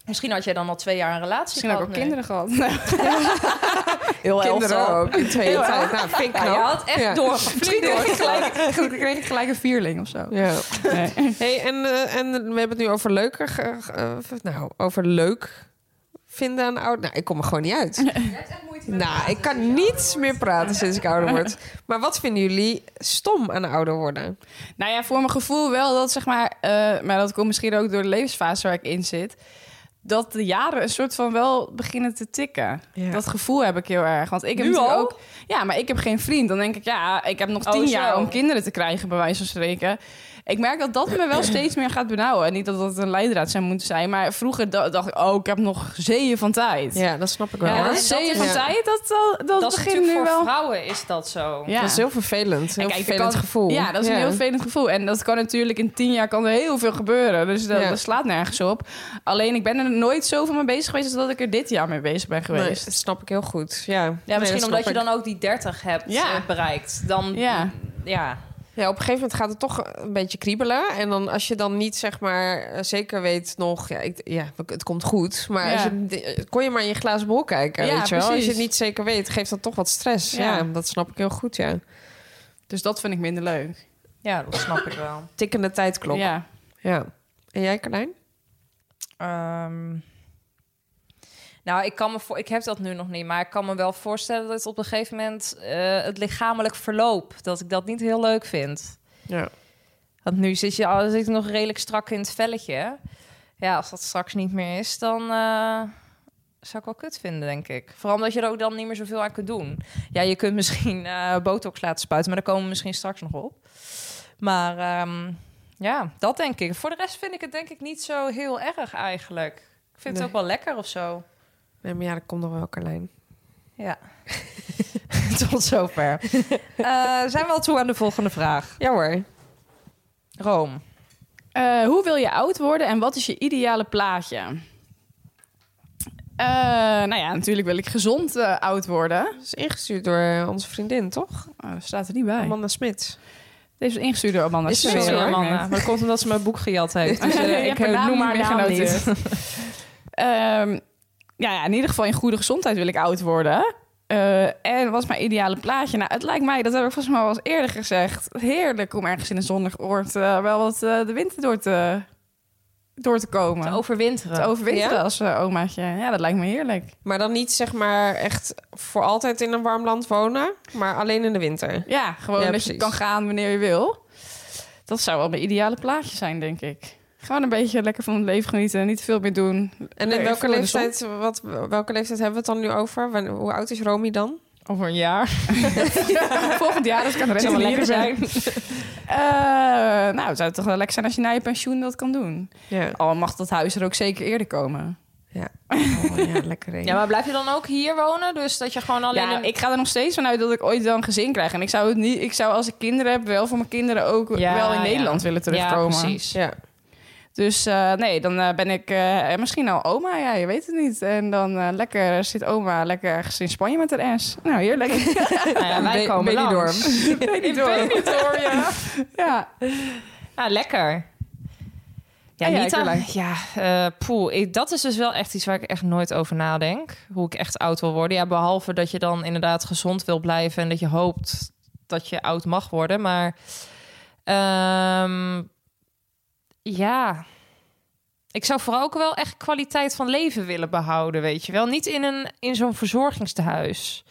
D: Misschien had jij dan al twee jaar een relatie
E: Misschien had ik ook
D: gehad nu.
E: kinderen gehad. (laughs) Heel
F: Kinderen
E: elftal.
F: ook, in twee
E: Heel
F: jaar
E: erg.
F: tijd. Nou, vind
D: Ja,
F: ik knap.
D: je had echt
F: Ja.
E: Misschien
D: doorgevloeid.
E: kreeg ik gelijk- kreeg ik gelijk een vierling of zo.
F: Ja.
E: Nee.
F: (laughs) Hey, en, eh, en we hebben het nu over leuker. ge- ge- eh, nou, over leuk vinden aan oud. Nou, ik kom er gewoon niet
E: (laughs)
F: uit. Nou, ik
E: dus
F: kan niet meer praten sinds ik ouder
E: (laughs)
F: word. Maar wat vinden jullie stom aan ouder worden?
E: Nou ja, voor mijn gevoel wel dat zeg maar, eh, maar dat komt misschien ook door de levensfase waar ik in zit. Dat de jaren een soort van wel beginnen te tikken.
F: Ja.
E: Dat gevoel heb ik heel erg. Want ik heb
D: Nu
E: natuurlijk
D: al?
E: ook. Ja, maar ik heb geen vriend. Dan denk ik, ja, ik heb nog
D: Oh,
E: tien jaar
D: zo.
E: om kinderen te krijgen, bij wijze van spreken. Ik merk dat dat
D: (clears throat)
E: me wel steeds meer gaat benauwen. Niet dat dat een leidraad zou moeten zijn. Maar vroeger da- dacht ik, oh, ik heb nog zeeën van tijd. Ja,
F: Ja, dat snap ik wel.
D: Ja,
E: dat
D: is-
E: zeeën
D: dat
E: van
D: is-
E: tijd, dat, dat, dat,
D: Dat is
E: begint
D: natuurlijk
E: nu
D: voor
E: wel.
D: vrouwen is dat zo.
E: Ja.
F: Dat is heel vervelend. Heel
E: En kijk, er
F: vervelend
E: kan-
F: gevoel.
E: Ja, dat is een heel vervelend gevoel. En dat kan natuurlijk in tien jaar kan er heel veel gebeuren. Dus dat,
F: Ja.
E: dat slaat nergens op. Alleen ik ben er nooit zoveel mee bezig geweest... als dat ik er dit jaar mee bezig ben
F: Nee,
E: geweest.
F: dat snap ik heel goed. Ja,
D: Ja, misschien
F: Nee, dat
D: omdat je
F: snap
D: dan
F: ik.
D: ook die 30 hebt
E: Ja.
D: eh, bereikt. Dan,
E: Ja.
D: ja.
F: Ja, op een gegeven moment gaat het toch een beetje kriebelen. En dan als je dan niet zeg maar eh, zeker weet nog... Ja, ik, ja het komt goed. Maar
E: Ja.
F: als je, eh, kon je maar in je glazen bol kijken,
E: Ja,
F: weet je wel? Als je het
E: precies.
F: niet zeker weet, geeft dat toch wat stress. Ja.
E: Ja.
F: dat snap ik heel goed, ja.
E: Dus dat vind ik minder leuk.
D: ja, dat snap ik wel.
F: Tikkende tijdklok. Ja.
E: Ja.
F: En jij, Carlijn?
D: Ehm, nou, ik, kan me voor, ik heb dat nu nog niet, maar ik kan me wel voorstellen dat op een gegeven moment eh, het lichamelijk verloop, dat ik dat niet heel leuk vind.
F: Ja.
D: Want nu zit je al, zit ik nog redelijk strak in het velletje. Ja, als dat straks niet meer is, dan eh, zou ik wel kut vinden, denk ik. Vooral omdat je er ook dan niet meer zoveel aan kunt doen. Ja, je kunt misschien eh, botox laten spuiten, maar daar komen we misschien straks nog op. Maar ehm, ja, dat denk ik. Voor de rest vind ik het denk ik niet zo heel erg eigenlijk. Ik vind het
F: Nee.
D: ook wel lekker of zo.
F: Nee, maar ja, dat komt nog wel, Carlijn.
D: Ja. (laughs) Tot zover. Eh, zijn we al toe aan de volgende vraag?
F: Ja hoor.
D: Rome.
E: Eh, hoe wil je oud worden en wat is je ideale plaatje? Eh, nou ja, natuurlijk wil ik gezond eh, oud worden.
F: Dat is ingestuurd door eh, onze vriendin, toch?
E: Oh, dat staat er niet bij.
F: Amanda Smits.
E: Deze is ingestuurd door Amanda.
F: Is ze
E: Smit.
F: weer,
E: Sorry,
F: hoor.
E: Amanda.
D: Maar dat komt omdat ze mijn boek gejat heeft.
F: (laughs)
D: Dus, eh,
E: Je
D: ik
E: hebt haar
D: eh,
E: naam
D: noem haar
E: niet (laughs) meer
D: naam niet.
E: genoteerd. Ehm, ja, ja, in ieder geval in goede gezondheid wil ik oud worden. Eh, en wat is mijn ideale plaatje? Nou, het lijkt mij, dat heb ik volgens mij al eens eerder gezegd... heerlijk om ergens in een zonnig oord eh, wel wat eh, de winter door te, door te komen.
D: Te
E: Te,
D: overwinteren.
E: overwinteren als eh, omaatje. Ja, dat lijkt me heerlijk.
F: Maar dan niet zeg maar echt voor altijd in een warm land wonen, maar alleen in de winter.
E: Ja, gewoon
F: Ja,
E: dat je
F: precies.
E: kan gaan wanneer je wil. Dat zou wel mijn ideale plaatje zijn, denk ik. Gewoon een beetje lekker van het leven genieten. Niet te veel meer doen.
F: En in
E: Lekker
F: welke
E: voor de zon.
F: leeftijd, wat, welke leeftijd hebben we het dan nu over? Wanneer- hoe oud is Romy dan?
E: Over een jaar. (laughs) Volgend jaar, dus kan
D: Het
E: het
D: zou wel lekker zijn.
E: nou, het zou toch wel lekker zijn als je na je pensioen dat kan doen.
F: Ja,
E: Al mag dat huis er ook zeker eerder komen.
F: ja. Oh, ja lekker heen.
D: Ja, maar blijf je dan ook hier wonen? Dus dat je gewoon alleen...
E: ja,
D: in-
E: ik ga er nog steeds vanuit dat ik ooit wel een gezin krijg. En ik zou, het niet, ik zou als ik kinderen heb wel voor mijn kinderen ook
D: Ja,
E: wel in
D: ja.
E: Nederland willen terugkomen.
D: Ja, precies.
F: ja.
E: Dus eh, nee, dan eh, ben ik eh, misschien al oma. Ja, je weet het niet. En dan eh, lekker zit oma lekker ergens in Spanje met haar S. Nou, heerlijk. (laughs)
D: (laughs) Nou ja, wij
F: Ba-
D: komen
F: Benidorm.
D: langs. (laughs)
E: Niet door.
D: Benidorm, ja.
E: Ja.
D: Ja, Ah, lekker. Ja,
E: En jij,
D: niet aan,
E: Carlijn?
D: ja eh, poeh, ik, dat is dus wel echt iets waar ik echt nooit over nadenk. Hoe ik echt oud wil worden. Ja, behalve dat je dan inderdaad gezond wil blijven en dat je hoopt dat je oud mag worden. Maar ehm, ja, ik zou vooral ook wel echt kwaliteit van leven willen behouden, weet je wel. Niet in, een, in zo'n verzorgingstehuis.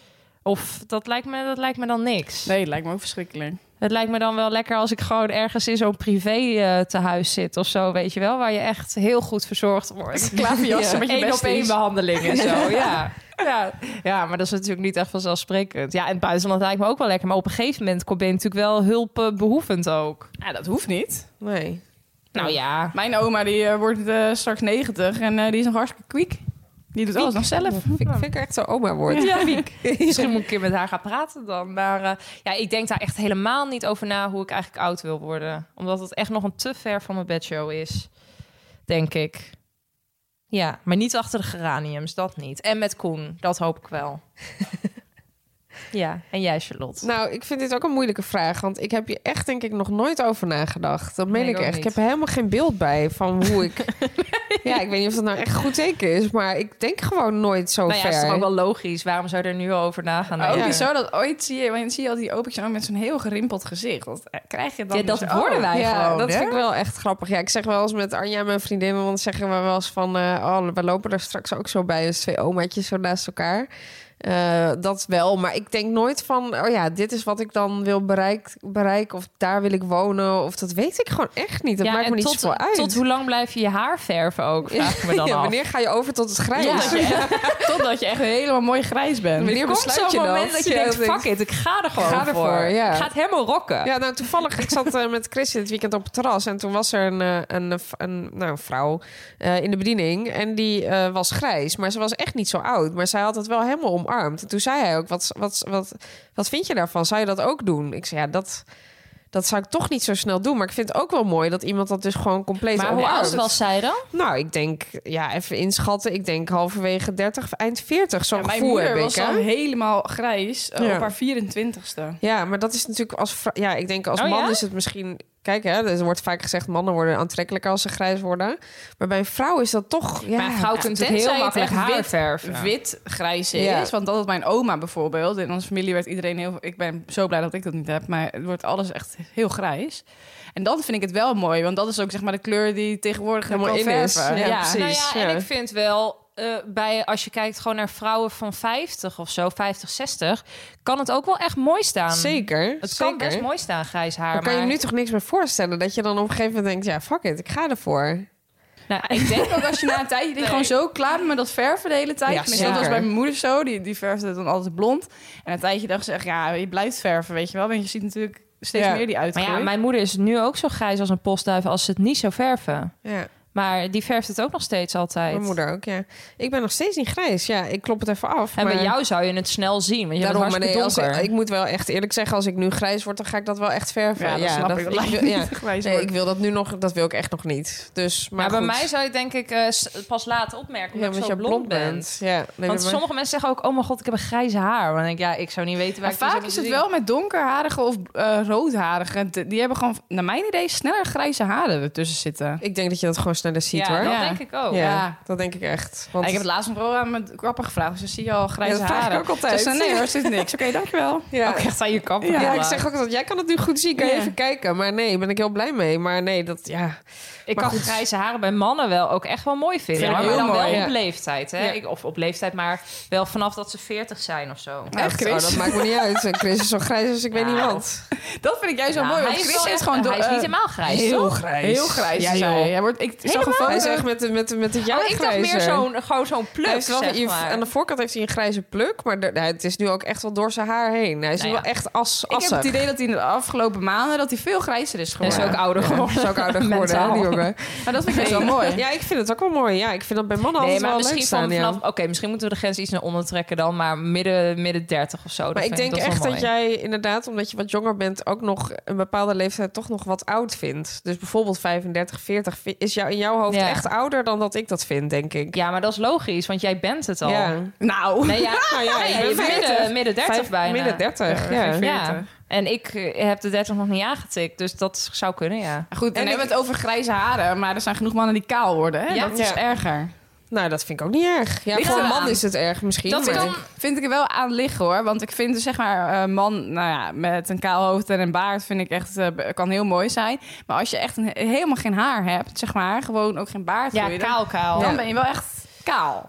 D: Of dat lijkt, me, dat lijkt me dan niks.
E: Nee, lijkt me ook verschrikkelijk.
D: Het lijkt me dan wel lekker als ik gewoon ergens in zo'n privé eh tehuis zit of zo, weet je wel, waar je echt heel goed verzorgd
E: (laughs)
D: wordt.
E: Klaverjassen met je
D: Eén op
E: besties.
D: één behandeling en
E: (laughs)
D: zo, ja. Ja, ja, maar dat is natuurlijk niet echt vanzelfsprekend. Ja, in het buitenland lijkt me ook wel lekker. Maar op een gegeven moment ben je natuurlijk wel hulpbehoevend ook.
E: Ja, dat hoeft niet.
F: Nee.
D: Nou ja,
E: Mijn oma die eh, wordt eh, straks 90 en eh, die is nog hartstikke kwiek. Die doet alles nog zelf.
F: Vind, ik- vind ik echt zo'n oma
D: (laughs)
F: woord.
D: Ja, Misschien moet ik een keer met haar gaan praten dan. Maar eh, ja, ik denk daar echt helemaal niet over na hoe ik eigenlijk oud wil worden. Omdat het echt nog een te ver van mijn bedshow is. Denk ik. Ja, maar niet achter de geraniums, dat niet. En met Koen, dat hoop ik wel. (laughs) Ja, en jij Charlotte.
F: Nou, ik vind dit ook een moeilijke vraag. Want ik heb hier echt, denk ik, nog nooit over nagedacht. Dat meen
D: Nee, ik
F: ik
D: ook
F: echt.
D: niet.
F: Ik heb er helemaal geen beeld bij van
D: (laughs)
F: hoe ik. Ja, ik weet niet of dat nou echt goed teken is. Maar ik denk gewoon nooit zo
D: nou ja,
F: ver. Oh,
D: is toch ook wel logisch. Waarom zou je er nu al over na gaan
E: Maar ook
D: denken?
E: niet zo dat ooit zie je, want dan zie je al die opentjes ook met zo'n heel gerimpeld gezicht. Dat eh, krijg je dan.
D: Ja, dat
E: dus
D: worden
E: ook.
D: wij
F: Oh, ja,
D: gewoon,
F: dat
D: hè?
F: vind ik wel echt grappig. Ja, ik zeg wel eens met Anja, mijn vriendin, want zeggen we wel eens van... eh, oh, we lopen daar straks ook zo bij, dus twee omaatjes zo naast elkaar. Eh, dat wel, maar ik denk nooit van... oh ja, dit is wat ik dan wil bereik, bereiken of daar wil ik wonen. Of dat weet ik gewoon echt niet. Dat
D: ja,
F: maakt
D: en
F: me niet
D: tot,
F: zoveel uit.
D: tot
F: (laughs)
D: hoe lang blijf je je haar verven ook, vraag ik me dan
F: ja,
D: af.
F: wanneer ga je over tot het grijs?
D: Ja.
F: Ja. (laughs)
E: Totdat je echt helemaal mooi grijs bent.
F: Wanneer
D: Er komt
F: besluit je
D: zo'n
F: dat?
D: moment dat je
F: Ja,
D: denkt,
F: dat denk
D: fuck it, ik ga er gewoon
F: ga ervoor, ja.
D: Ik ga het helemaal rocken.
F: Ja, nou toevallig, ik zat eh, met Chris dit weekend op het terras en toen was er een, eh, een, eh, v- een, nou, een vrouw eh, in de bediening en die eh, was grijs, maar ze was echt niet zo oud, maar zij had het wel helemaal omarmd. En toen zei hij ook, wat, wat, wat, wat vind je daarvan? Zou je dat ook doen? Ik zei, ja, dat, dat zou ik toch niet zo snel doen, maar ik vind het ook wel mooi dat iemand dat dus gewoon compleet
D: Maar hoe
F: omarmt.
D: oud was zij dan?
F: Nou, ik denk, ja, even inschatten, ik denk halverwege 30, eind 40, zo'n
E: Ja, mijn
F: gevoel heb
E: moeder
F: ik.
E: was
F: hè?
E: dan helemaal grijs eh,
F: Ja.
E: op haar 24ste.
F: Ja, maar dat is natuurlijk als vrou- ja, ik denk als
D: Oh,
F: man
D: ja?
F: is het misschien kijk hè, er wordt vaak gezegd mannen worden aantrekkelijker als ze grijs worden, maar bij een vrouw is dat toch ja.
D: Maar een vrouw kunt het
E: Tenzij
D: heel
E: het
D: makkelijk
E: echt
D: haar
E: wit-
D: verven.
E: wit-grijs is.
F: Ja.
E: Want dat had mijn oma bijvoorbeeld. In onze familie werd iedereen heel... Ik ben zo blij dat ik dat niet heb. Maar het wordt alles echt heel grijs. En dan vind ik het wel mooi. Want dat is ook zeg maar de kleur die tegenwoordig
F: Helemaal
E: helemaal
F: in
E: in
F: is. Ja, precies.
D: Nou ja, en
F: ja.
D: ik vind wel, eh, bij, als je kijkt gewoon naar vrouwen van 50 of zo, 50, 60, kan het ook wel echt mooi staan.
F: zeker.
D: ehm, Het
F: zeker.
D: kan best mooi staan, grijs haar.
F: Maar kan je
D: maar-
F: nu toch niks meer voorstellen dat je dan op een gegeven moment denkt ja, fuck it, ik ga ervoor.
D: Nou, ik
F: (laughs)
D: denk
E: (laughs) Ook als je na een tijdje die gewoon zo klaar bent met dat verven de hele tijd.
F: Ja,
E: Tenminste, dat was
F: zeker.
E: bij mijn moeder zo. Die, die verfde dan altijd blond. En een tijdje dacht ze echt, ja, je blijft verven, weet je wel. Want je ziet natuurlijk steeds
F: Ja.
E: meer die
D: Maar ja,
E: uitgroei.
D: mijn moeder is nu ook zo grijs als een postduif als ze het niet zou verven.
F: Ja,
D: Maar die verft het ook nog steeds altijd.
F: mijn moeder ook, ja. Ik ben nog steeds niet grijs. Ja, ik klop het even af.
D: En
F: maar...
D: bij jou zou je het snel zien, want je
F: Daarom,
D: bent
F: maar nee,
D: hartstikke
F: als,
D: donker.
F: ik moet wel echt eerlijk zeggen, als ik nu grijs word, dan ga ik dat wel echt verven. Dus
E: Ja, dat snap
F: (laughs)
E: ik. Dat lijkt
F: wil-
E: me niet (laughs) grijs
F: nee,
E: worden.
F: ik wil dat nu nog, dat wil ik echt nog niet. Dus, maar
D: maar bij
F: goed.
D: mij zou je het denk ik eh, s- pas laten opmerken omdat
F: Ja,
D: je
F: omdat
D: zo
F: je
D: blond, bent.
F: Ja, nee, bij mij-
D: Want sommige mensen zeggen ook, oh mijn god, ik heb een grijze haar. Maar dan denk ik, ja, ik zou niet weten waar
E: Maar
D: ik
E: vaak is het wel met donkerharige of eh roodharige. D- Die hebben gewoon, naar mijn idee, sneller grijze haren ertussen zitten.
F: Ik denk dat je dat gewoon sneller ziet
D: Ja,
F: hoor.
D: dat
F: Ja.
E: Ja.
D: denk ik ook.
E: Ja.
F: dat denk ik echt. Want
E: ik heb het laatst nog wel aan mijn kapper gevraagd. Dus dan zie je al grijze
F: Ja, dat vraag ik
E: haren.
F: ook altijd.
E: Ze zei, nee hoor, er zit (laughs) niks. Oké, dankjewel.
F: Oh, Ja.
E: Ook echt aan je kapper.
F: (laughs) ja, ik
D: gevraagd.
F: zeg ook dat jij kan het nu goed zien. Kan je
E: Ja.
F: even kijken? Maar nee, ben ik heel blij mee. Maar nee, dat ja.
D: Ik
F: Maar
D: kan
F: goed.
D: grijze haren bij mannen wel ook echt wel mooi vinden.
E: Vind ik
D: hoor. maar
E: heel
D: dan wel
E: mooi,
D: op
F: ja.
D: leeftijd. Hè?
F: Ja.
D: Ik, of op leeftijd, maar wel vanaf dat ze 40 zijn of zo.
E: Nou,
F: echt,
E: Chris.
F: Oh, dat maakt me niet
E: (laughs)
F: uit. En Chris is zo grijs als ik weet niet
D: Nou.
F: wat.
E: Dat vind ik juist zo
D: Nou,
E: mooi. Want
D: hij is
E: Chris
D: wel
E: is,
D: echt-
E: gewoon...
D: hij is niet helemaal grijs, Heel toch?
E: grijs. Heel grijs.
F: Ja,
E: is
F: joh.
E: hij. Hij wordt, ik zag een foto.
F: Hij is echt met, met, met het jaar
D: Oh, ik dacht meer zo'n gewoon zo'n pluk, zeg maar.
F: Aan de voorkant heeft hij een grijze pluk. Maar de- nou, het is nu ook echt wel door zijn haar heen. Hij is
D: Nou
F: nu
D: ja.
F: wel echt as,
E: Ik heb
F: assig.
E: het idee dat hij in de afgelopen maanden dat hij veel grijzer is
D: Hij
E: geworden.
D: is ook ouder geworden.
F: Hij is ook
D: (laughs)
F: ouder geworden, hè, die
D: Mentaal.
F: jongen.
E: Maar dat vind ik best wel (laughs) mooi.
F: Ja, ik vind het ook wel mooi. Ja, ik vind dat bij mannen
D: Nee,
F: altijd
D: maar
F: wel leuk
D: misschien
F: staan.
D: van
F: ja.
D: vanaf... Oké, misschien moeten we de grens iets naar onder trekken dan. Maar midden, midden 30 of zo. dat
F: Maar ik
D: vind
F: denk
D: dat wel
F: echt dat
D: mooi.
F: jij inderdaad, omdat je wat jonger bent, ook nog een bepaalde leeftijd toch nog wat oud vindt. Dus bijvoorbeeld 35, 40 vi- is jou, in jouw hoofd
D: Ja.
F: echt ouder dan dat ik dat vind, denk ik.
D: Ja, maar dat is logisch, want jij bent het al.
F: Ja.
E: Nou.
D: Nee, ja,
F: Nou (laughs) ja,
D: nee,
F: ik ben
D: je bent
F: 40.
D: midden, midden 30
F: Vijf-
D: bijna.
F: Midden 30, ja.
E: Ja, geen
D: Ja,
E: 40.
D: en ik eh, heb de 30 nog niet aangetikt. Dus dat zou kunnen, ja.
E: Goed, en
F: En
E: we hebben
F: ik-
E: het over grijze haren, maar er zijn genoeg mannen die kaal worden. Hè?
D: Ja.
E: dat is
F: Ja.
E: erger.
F: Nou, dat vind ik ook niet erg. Ja,
D: Ligt
F: voor een
D: eraan.
F: man is het erg misschien.
D: Dat
F: maar-
D: kan-
E: Vind ik er wel aan liggen hoor. Want ik vind dus zeg maar een man nou ja, met een kaal hoofd en een baard vind ik echt, eh, kan heel mooi zijn. Maar als je echt een, helemaal geen haar hebt, zeg maar, gewoon ook geen baard groeien, dan-
D: kaal.
E: Dan
D: Ja,
E: ben je wel echt kaal.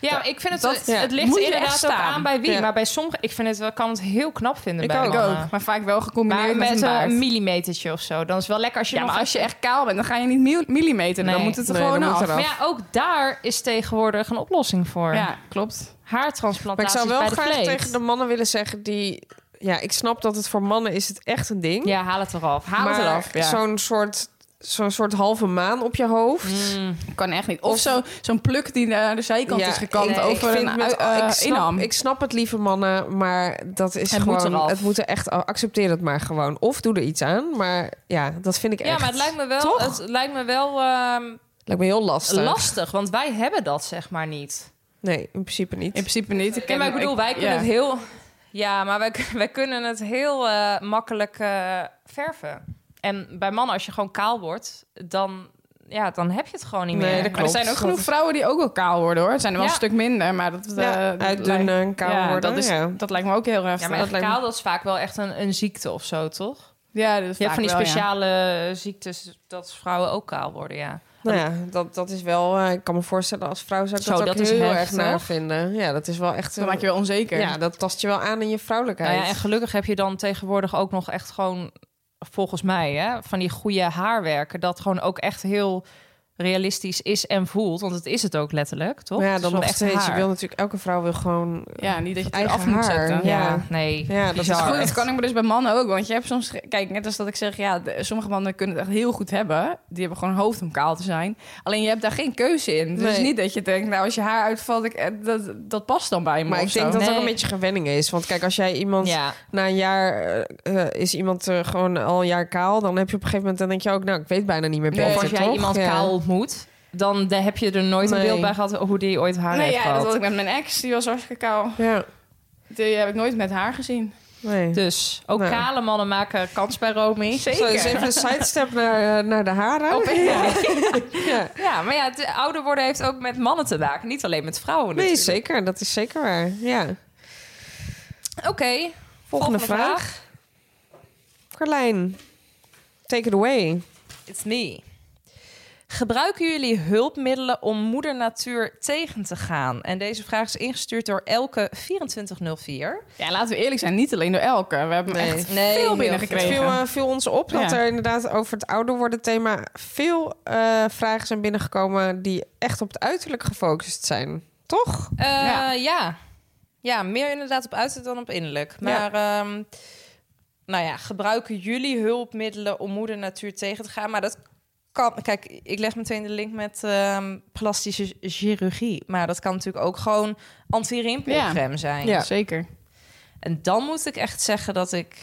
F: Ja.
D: maar ik vind het,
F: Dat-
D: het,
F: ja.
D: het ligt
E: Moet je
D: inderdaad
E: echt
D: ook
E: staan.
D: aan bij wie.
F: Ja.
D: Maar bij sommigen, ik vind het, wel- kan het heel knap vinden
F: Ik
D: bij
F: ook.
D: mannen.
E: Maar vaak wel gecombineerd
D: Maar
E: met,
D: met
E: een
D: eh,
E: baard.
D: een millimetertje of zo. Dan is het wel lekker als je
E: ja,
D: nog
E: maar als je
D: even-
E: echt kaal bent, dan ga je niet mil- millimeter.
D: Nee.
E: Dan moet het er
F: Nee,
E: gewoon
F: dan moet
E: af.
F: het eraf.
D: Maar ja, ook daar is tegenwoordig een oplossing voor.
E: Ja, klopt.
F: Maar ik
D: Haartransplantaties
F: zou wel
D: bij de
F: graag
D: vlees.
F: tegen de mannen willen zeggen die... Ja, ik snap dat het voor mannen is het echt een ding.
D: Ja, haal het eraf. Haal
F: maar
D: het eraf.
E: ja.
F: zo'n soort, zo'n soort halve maan op je hoofd...
D: Mm.
E: Kan echt niet. Of, zo- zo'n pluk die naar de zijkant
F: Ja,
E: is gekant
F: ik- ik
E: over
F: vind
E: een
F: met-
E: ui- eh,
F: ik snap,
E: inham.
F: Ik snap het, lieve mannen, maar dat is
D: Het moet
F: gewoon...
D: eraf.
F: het moet er echt... Accepteer het maar gewoon. Of doe er iets aan, maar ja, dat vind ik echt...
D: Ja, maar het lijkt me wel,
F: Toch?
D: het lijkt me wel ehm,
F: Lijkt me heel lastig.
D: lastig. Want wij hebben dat zeg maar niet.
F: Nee, in principe niet.
E: In principe niet. Ik
D: Ken, maar ik bedoel, wij kunnen
E: ja.
D: het heel... Ja, maar wij, (laughs) wij kunnen het heel eh, makkelijk eh, verven. En bij mannen, als je gewoon kaal wordt, dan, ja, dan heb je het gewoon niet meer.
F: Nee, dat
E: Maar er
F: klopt.
E: zijn ook genoeg vrouwen die ook wel kaal worden, hoor. Het zijn er wel
D: Ja.
E: een stuk minder, maar dat... eh,
F: Ja,
E: dat
F: uitdunnen,
E: lijkt-
F: kaal
E: ja,
F: worden,
E: Dat, is,
F: ja.
E: dat lijkt me ook heel erg.
D: Ja, maar
E: dat
D: echt
E: lijkt me-
D: kaal, dat is vaak wel echt een, een ziekte of zo, toch?
E: Ja, dat is
D: Je hebt
E: vaak
D: van die
E: wel, ja.
D: speciale eh, ziektes dat vrouwen ook kaal worden, ja.
F: Nou ja, dat, dat is wel... eh, ik kan me voorstellen als vrouw zou ik
D: Zo,
F: dat ook
D: dat is
F: heel erg
D: heftig.
F: naar vinden. Ja, dat is wel echt...
E: Dat
F: een-
E: maakt je wel onzeker.
F: ja, dat tast je wel aan in je vrouwelijkheid.
D: Nou ja, en gelukkig heb je dan tegenwoordig ook nog echt gewoon, volgens mij, hè, van die goede haarwerken. Dat gewoon ook echt heel realistisch is en voelt. Want het is het ook letterlijk, toch?
F: Maar ja,
D: Het is wel
F: dan nog
D: echt
F: steeds. Je
D: haar.
F: wil natuurlijk... Elke vrouw wil gewoon...
E: Ja, niet dat je het
F: Eigen
E: af moet
F: haar.
E: zetten.
D: Ja,
F: Ja.
D: nee.
F: Ja, dat is
D: bizar.
E: Goed, dat
D: Echt.
E: kan ik me dus bij mannen ook. Want je hebt soms... Kijk, net als dat ik zeg... Ja, de- sommige mannen kunnen het echt heel goed hebben. Die hebben gewoon een hoofd om kaal te zijn. Alleen je hebt daar geen keuze in. Dus
F: Nee.
E: het is niet dat je denkt... Nou, als je haar uitvalt, ik, eh, dat, dat past dan bij me
F: Maar
E: of
F: ik
E: zo.
F: denk dat het ook
D: Nee.
F: een beetje gewenning is. Want kijk, als jij iemand...
D: Ja.
F: Na een jaar eh, eh, is iemand eh, gewoon al een jaar kaal. Dan heb je op een gegeven moment... Dan denk je ook... Nou, ik weet bijna niet meer
E: Nee,
F: beter,
D: Of als jij
F: toch?
D: iemand
F: Ja.
D: kaal ontmoet, dan daar heb je er nooit
F: Nee.
D: een beeld bij gehad hoe die ooit haar
E: Nee,
D: heeft
E: ja,
D: gehad.
E: dat had ik met mijn ex. Die was hartstikke kaal.
F: Ja,
E: Die heb ik nooit met haar gezien.
F: nee.
D: Dus ook
F: Nou.
D: kale mannen maken kans bij Romy.
F: Zo,
D: (laughs)
F: dus even een sidestep naar, eh, naar de haren.
D: Oh,
F: ja. ja.
D: Ja, maar ja, het ouder worden heeft ook met mannen te maken, niet alleen met vrouwen.
F: Nee,
D: natuurlijk.
F: zeker. Dat is zeker waar. Ja. Volgende,
D: Oké,
F: vraag. Carlijn, take it away.
D: It's me. Gebruiken jullie hulpmiddelen om moeder natuur tegen te gaan? En deze vraag is ingestuurd door Elke 2404.
E: Ja, laten we eerlijk zijn. Niet alleen door elke. We hebben
F: Nee.
E: echt
D: Nee,
E: veel
D: heel
F: Het
E: binnengekregen.
F: viel, eh, viel ons op dat
E: Ja.
F: er inderdaad over het ouder worden thema... veel eh, vragen zijn binnengekomen die echt op het uiterlijk gefocust zijn. Toch?
D: Eh,
E: Ja.
D: ja. ja. meer inderdaad op uiterlijk dan op innerlijk. Maar ehm, nou ja, gebruiken jullie hulpmiddelen om moeder natuur tegen te gaan? Maar dat kan. Kijk, ik leg meteen de link met ehm, plastische chirurgie. Maar dat kan natuurlijk ook gewoon anti-rimpelcrème zijn.
F: Ja.
E: Zeker.
D: En dan moet ik echt zeggen dat ik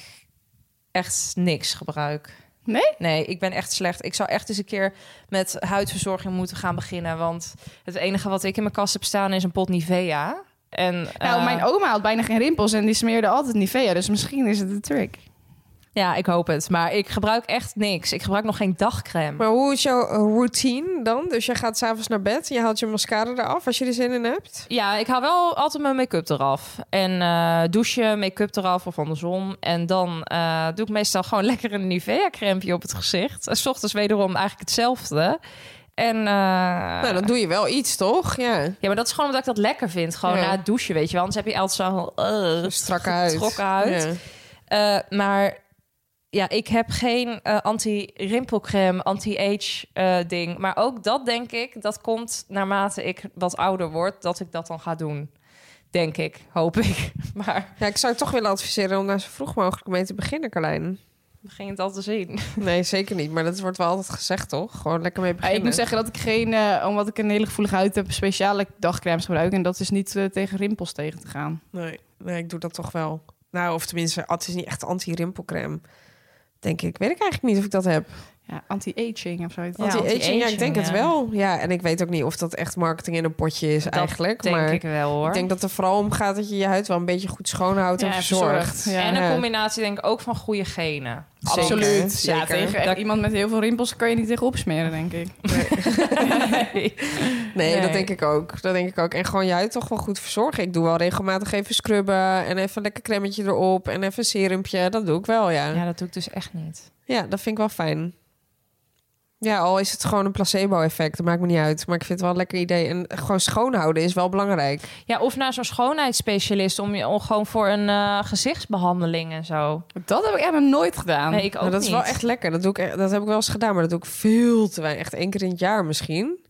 D: echt niks gebruik.
E: Nee?
D: Nee, ik ben echt slecht. Ik zou echt eens een keer met huidverzorging moeten gaan beginnen. Want het enige wat ik in mijn kast heb staan is een pot Nivea. En,
E: Nou,
D: eh,
E: mijn oma had bijna geen rimpels en die smeerde altijd Nivea. Dus misschien is het de trick.
D: Ja, ik hoop het. Maar ik gebruik echt niks. Ik gebruik nog geen dagcrème.
F: Maar hoe is jouw eh, routine dan? Dus je gaat s'avonds naar bed, je haalt je mascara eraf als je er zin in hebt.
D: Ja, ik haal wel altijd mijn make-up eraf. En eh, douchen, make-up eraf of andersom. En dan eh, doe ik meestal gewoon (laughs) lekker een Nivea-crème op het gezicht. En 's ochtends wederom eigenlijk hetzelfde. En, eh,
F: Nou, dan doe je wel iets, toch? Ja.
D: Ja, maar dat is gewoon omdat ik dat lekker vind. Gewoon
F: Ja.
D: na het douchen, weet je wel. Anders heb je altijd zo'n... eh,
F: Strakke huid.
D: getrokken huid.
F: Ja.
D: Eh, maar ja, ik heb geen eh, anti-rimpelcreme, anti-age eh, ding. Maar ook dat denk ik, dat komt naarmate ik wat ouder word, dat ik dat dan ga doen. Denk ik, hoop ik. (laughs) Maar
F: Ja, ik zou je toch willen adviseren om daar zo vroeg mogelijk mee te beginnen, Carlijn.
D: we gingen het al te zien.
F: Nee, zeker niet. Maar dat wordt wel altijd gezegd, toch? Gewoon lekker mee
E: Ja,
F: beginnen.
E: ik moet zeggen dat ik geen, eh, omdat ik een hele gevoelige huid heb, speciale dagcremes gebruik. En dat is niet eh, tegen rimpels tegen te gaan.
F: Nee, nee, ik doe dat toch wel. Nou, of tenminste, het is niet echt anti-rimpelcreme. Denk ik. Weet ik eigenlijk niet of ik dat heb.
E: Ja, anti-aging of zo. heet het.
D: Ja,
F: anti-aging, ja, ik
D: anti-aging,
F: denk het
D: ja.
F: wel. Ja, en ik weet ook niet of dat echt marketing in een potje is
D: Dat
F: eigenlijk.
D: denk
F: maar
D: ik wel hoor.
F: ik denk dat het er vooral om gaat dat je je huid wel een beetje goed schoonhoudt en
E: Ja,
F: verzorgt.
E: verzorgd, ja.
D: en een combinatie denk ik ook van goede genen.
F: Zeker.
E: Absoluut.
F: Zeker.
E: Ja, tegen echt
D: Dat-
E: iemand met heel veel rimpels kan je niet tegen opsmeren, denk (laughs) ik.
F: Nee,
D: Nee.
F: dat denk ik ook. Dat denk ik ook. En gewoon je huid toch wel goed verzorgen. Ik doe wel regelmatig even scrubben en even een lekker cremmetje erop en even een serumpje. Dat doe ik wel, ja. ja.
D: Ja, dat doe ik dus echt niet.
F: dat vind ik wel fijn. Ja, al is het gewoon een placebo-effect, dat maakt me niet uit. Maar ik vind het wel een lekker idee. En gewoon schoonhouden is wel belangrijk.
D: Ja, of naar zo'n schoonheidsspecialist om je om gewoon voor een eh, gezichtsbehandeling en zo.
E: Dat heb ik echt nog nooit gedaan.
D: Nee, ik ook
F: Maar Nou, dat is wel
D: niet.
F: echt lekker. Dat, doe ik, e- dat heb ik wel eens gedaan, maar dat doe ik veel te weinig. Echt één keer in het jaar misschien.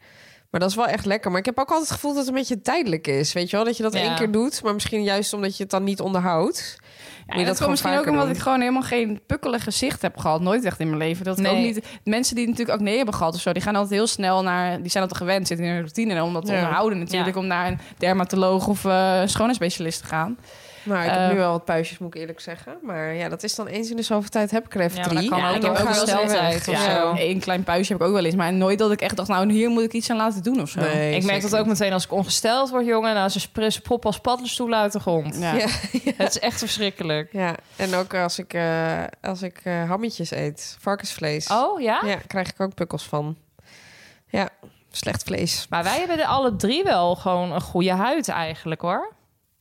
F: Maar dat is wel echt lekker. Maar ik heb ook altijd het gevoel dat het een beetje tijdelijk is. Weet je wel, dat je dat
D: Ja.
F: één keer doet, maar misschien juist omdat je het dan niet onderhoudt.
E: Ja,
F: Moet je
E: dat,
F: dat
E: komt misschien
F: gewoon
E: ook
F: vaker
E: omdat
F: doen?
E: ik gewoon helemaal geen pukkelig gezicht heb gehad. Nooit echt in mijn leven. Dat ik
D: Nee.
E: ook niet, mensen die natuurlijk ook nee hebben gehad of zo, die gaan altijd heel snel naar... Die zijn altijd gewend, zitten in hun routine om dat te
F: Ja.
E: onderhouden natuurlijk.
D: Ja.
E: Om naar een dermatoloog of eh, een schoonheidsspecialist te gaan.
F: Nou, ik
D: Eh,
F: heb nu wel wat puistjes, moet ik eerlijk zeggen. Maar ja, dat is dan eens in de zoveel tijd heb ik er even
D: Ja, maar
F: drie.
D: dat kan
F: Ja,
D: ook
F: ik
D: door
F: heb ook wel eens
D: ongesteldheid
F: weg.
D: of
F: Ja.
D: zo.
E: Eén klein puistje heb ik ook wel eens. Maar nooit dat ik echt dacht, nou, hier moet ik iets aan laten doen of zo.
F: Nee,
D: ik merk
F: zeker
D: dat ook meteen als ik ongesteld word, jongen. Nou, ze spr- ze proppen als paddenstoelen uit de grond. (laughs)
E: Ja.
F: Ja.
D: Het is echt verschrikkelijk.
F: Ja, en ook als ik, eh, als ik eh, hammetjes eet, varkensvlees.
D: Oh ja?
F: Ja, krijg ik ook pukkels van. Ja, slecht vlees.
D: Maar wij hebben de alle drie wel gewoon een goede huid eigenlijk hoor.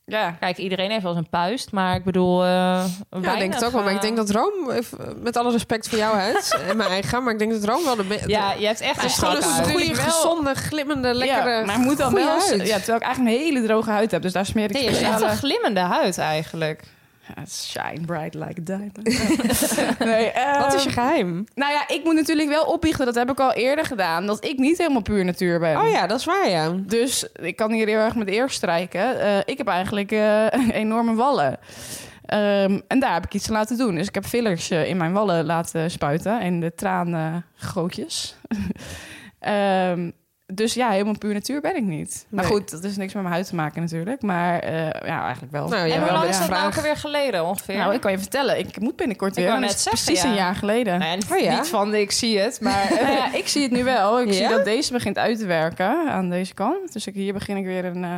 E: ja.
D: Kijk, iedereen heeft wel eens een puist, maar ik bedoel. eh
F: Ja, ik denk het ook wel. Maar ik denk dat Rome, eh, met alle respect voor jouw
E: (laughs)
F: huid en mijn eigen, maar ik denk dat Rome wel de... be-
D: Ja,
F: de-
D: je hebt echt
F: het
D: een
F: is gewoon een
D: strakke huid.
F: goede,
E: Wel-
F: gezonde, glimmende, lekkere...
E: Ja, maar het moet dan
F: goeie
E: wel... eens-
F: huid.
E: Ja, terwijl ik eigenlijk een hele droge huid heb. Dus daar smeer ik
D: Nee, je hebt echt
E: speciale...
D: een glimmende huid eigenlijk.
E: Ja, Ah, Shine bright like a
F: (laughs)
E: diamond. nee, eh,
F: Wat is je geheim?
E: Nou ja, ik moet natuurlijk wel opbiechten. Dat heb ik al eerder gedaan. Dat ik niet helemaal puur natuur ben.
F: Oh ja, dat is waar, ja.
E: Dus ik kan hier heel erg met de eer strijken. Eh, ik heb eigenlijk eh, (laughs) enorme wallen. Ehm, en daar heb ik iets aan laten doen. Dus ik heb fillers eh, in mijn wallen laten spuiten. En de traangootjes. (laughs) Ehm dus ja, helemaal puur natuur ben ik niet. Maar
F: Nee.
E: goed, dat is niks met mijn huid te maken natuurlijk. Maar eh, ja, eigenlijk wel.
F: Nou,
E: ja,
F: ja,
D: en hoe
F: wel
D: lang
F: weer
D: is dat
F: een
D: nou ook
F: vraag.
D: alweer geleden ongeveer?
E: Nou, ik kan je vertellen. Ik moet binnenkort weer.
D: wou
E: en dat
D: net
E: is
D: zeggen,
E: precies
D: ja.
E: een jaar geleden.
D: Nee,
F: Oh ja?
D: Niet van ik zie het, maar. (laughs)
E: Nou
F: (laughs)
E: ja, Nou ik zie het nu wel. Ik
F: Ja?
E: zie dat deze begint uit te werken aan deze kant. Dus ik, hier begin ik weer een... eh,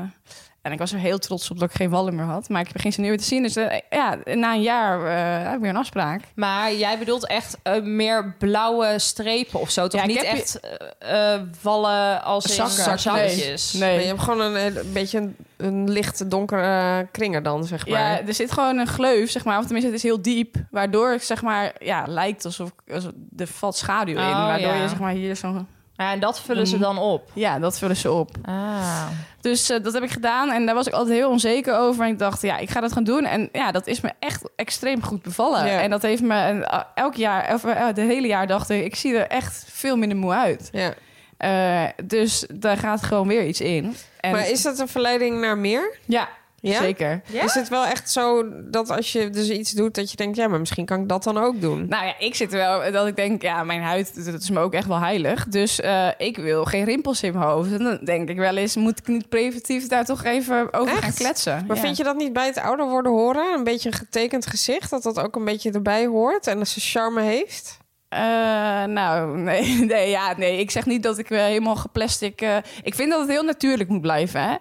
E: en ik was er heel trots op dat ik geen wallen meer had. Maar ik begin ze nu weer te zien. Dus eh, ja, na een jaar eh, heb ik weer een afspraak.
D: Maar jij bedoelt echt eh, meer blauwe strepen of zo. Toch
E: Ja, ik
D: niet
E: heb je-
D: echt eh, eh, wallen als in
E: Zakken.
D: zakjes.
E: Nee.
F: Maar je hebt gewoon een, een beetje een, een licht donkere eh, kringer dan, zeg maar.
E: Ja, er zit gewoon een gleuf, zeg maar. Of tenminste, het is heel diep. Waardoor het, zeg maar, ja, lijkt alsof... alsof er valt schaduw in.
D: Oh,
E: Waardoor
D: ja.
E: je, zeg maar, hier zo'n...
D: Nou Ja, en dat vullen ze
E: Mhm.
D: dan op.
E: Ja, dat vullen ze op.
D: Ah.
E: Dus eh, dat heb ik gedaan en daar was ik altijd heel onzeker over. En ik dacht, ja, ik ga dat gaan doen. En ja, dat is me echt extreem goed bevallen.
F: Ja.
E: En dat heeft me en, eh, elk jaar, of eh, de hele jaar dacht ik, ik zie er echt veel minder moe uit.
F: Ja.
E: Eh, dus daar gaat gewoon weer iets in. En,
F: Maar is dat een verleiding naar meer?
E: ja,
F: Ja?
E: zeker.
D: Ja?
F: Is het wel echt zo dat als je dus iets doet, dat je denkt, ja, maar misschien kan ik dat dan ook doen?
E: Nou ja, ik zit er wel dat ik denk, ja, mijn huid, dat is me ook echt wel heilig. Dus eh, ik wil geen rimpels in mijn hoofd. En dan denk ik wel eens, moet ik niet preventief daar toch even over gaan
F: Echt?
E: kletsen?
F: Maar
E: Ja.
F: vind je dat niet bij het ouder worden horen? Een beetje een getekend gezicht, dat dat ook een beetje erbij hoort en dat ze charme heeft?
E: Eh, nou, (laughs) nee, nee, ja, nee. Ik zeg niet dat ik eh, helemaal geplastic. eh, ik vind dat het heel natuurlijk moet blijven. Hè?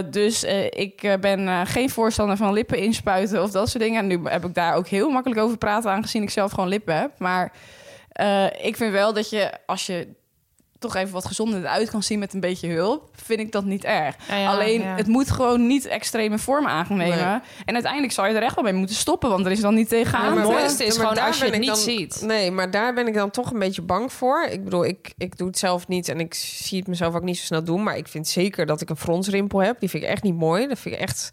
E: Eh, dus eh, ik eh, ben eh, geen voorstander van lippen inspuiten of dat soort dingen. En nu heb ik daar ook heel makkelijk over praten, aangezien ik zelf gewoon lippen heb. Maar eh, ik vind wel dat je, als je toch even wat gezonder uit kan zien met een beetje hulp, vind ik dat niet erg.
D: Ja, ja,
E: Alleen,
D: ja.
E: het moet gewoon niet extreme vorm aannemen. En uiteindelijk zou je er echt wel mee moeten stoppen, want er is dan niet tegenaan.
F: Ja, maar
D: het
F: wel-
D: mooiste is
F: maar
D: gewoon
F: daar
D: als je
F: ben
D: het
F: ik
D: niet
F: dan-
D: ziet.
F: Nee, maar daar ben ik dan toch een beetje bang voor. Ik bedoel, ik, ik doe het zelf niet en ik zie het mezelf ook niet zo snel doen. Maar ik vind zeker dat ik een fronsrimpel heb. Die vind ik echt niet mooi. Dat vind ik echt,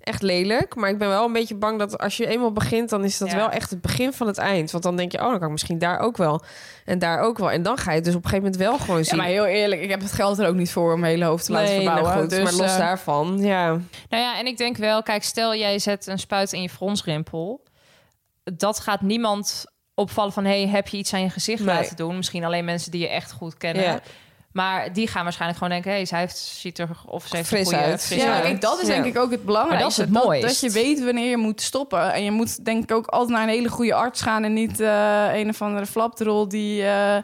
F: echt lelijk. Maar ik ben wel een beetje bang dat als je eenmaal begint, dan is dat
D: Ja.
F: wel echt het begin van het eind. Want dan denk je, oh, dan kan ik misschien daar ook wel. En daar ook wel. En dan ga je het dus op een gegeven moment wel gewoon
E: Ja,
F: zien.
E: maar heel eerlijk, ik heb het geld er ook niet voor om mijn hele hoofd te laten
F: nou
E: verbouwen.
F: goed,
E: dus,
F: maar los
E: eh,
F: daarvan, ja.
D: Nou ja, en ik denk wel, kijk, stel jij zet een spuit in je fronsrimpel. Dat gaat niemand opvallen van, hey, heb je iets aan je gezicht
F: Nee.
D: laten doen? Misschien alleen mensen die je echt goed kennen.
F: Ja.
D: Maar die gaan waarschijnlijk gewoon denken, hey, zij heeft, ziet er of ze heeft
F: Fris
D: een goede,
F: uit.
D: frisse
E: Ja, maar
D: huid.
E: kijk, dat is denk
F: Ja.
E: ik ook het
D: Maar
E: belangrijkste.
D: dat is het
E: mooi.
D: mooist.
E: Dat, je weet wanneer je moet stoppen. En je moet denk ik ook altijd naar een hele goede arts gaan... en niet eh, een of andere flapdrol die... eh,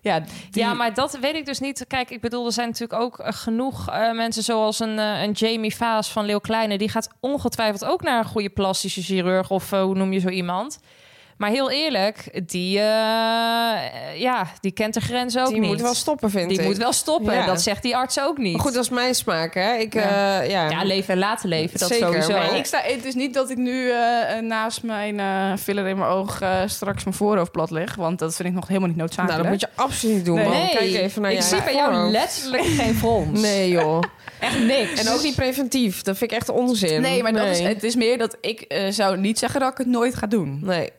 E: ja, die-
D: Ja, maar dat weet ik dus niet. Kijk, ik bedoel, er zijn natuurlijk ook eh, genoeg eh, mensen zoals een, eh, een Jamie Vaas van Leeuw Kleine. Die gaat ongetwijfeld ook naar een goede plastische chirurg of eh, hoe noem je zo iemand. Maar heel eerlijk, die, eh, eh, ja, die kent de grens ook
F: Die
D: niet.
F: moet wel stoppen, vind
D: Die
F: ik.
D: moet wel stoppen.
F: Ja.
D: Dat zegt die arts ook niet.
F: Maar goed, dat is mijn smaak, hè. Ik, eh, ja.
D: ja, leven en laten leven, dat
F: Zeker,
D: sowieso.
F: maar
E: Nee, ik sta, het is niet dat ik nu eh, eh, naast mijn eh, filler in mijn oog eh, straks mijn voorhoofd plat leg. Want dat vind ik nog helemaal niet noodzakelijk.
F: Nou, dat moet je absoluut niet doen,
E: Nee.
F: man.
D: Nee,
F: Kijk even naar
D: ik
F: je
D: zie bij jou
F: voorhoofd.
D: letterlijk geen frons.
F: Nee,
D: (laughs)
F: joh.
D: Echt niks.
F: En ook niet preventief. Dat vind ik echt onzin.
E: Nee, maar Dat is, het is meer dat ik eh, zou niet zeggen dat ik het nooit ga doen.
F: Nee.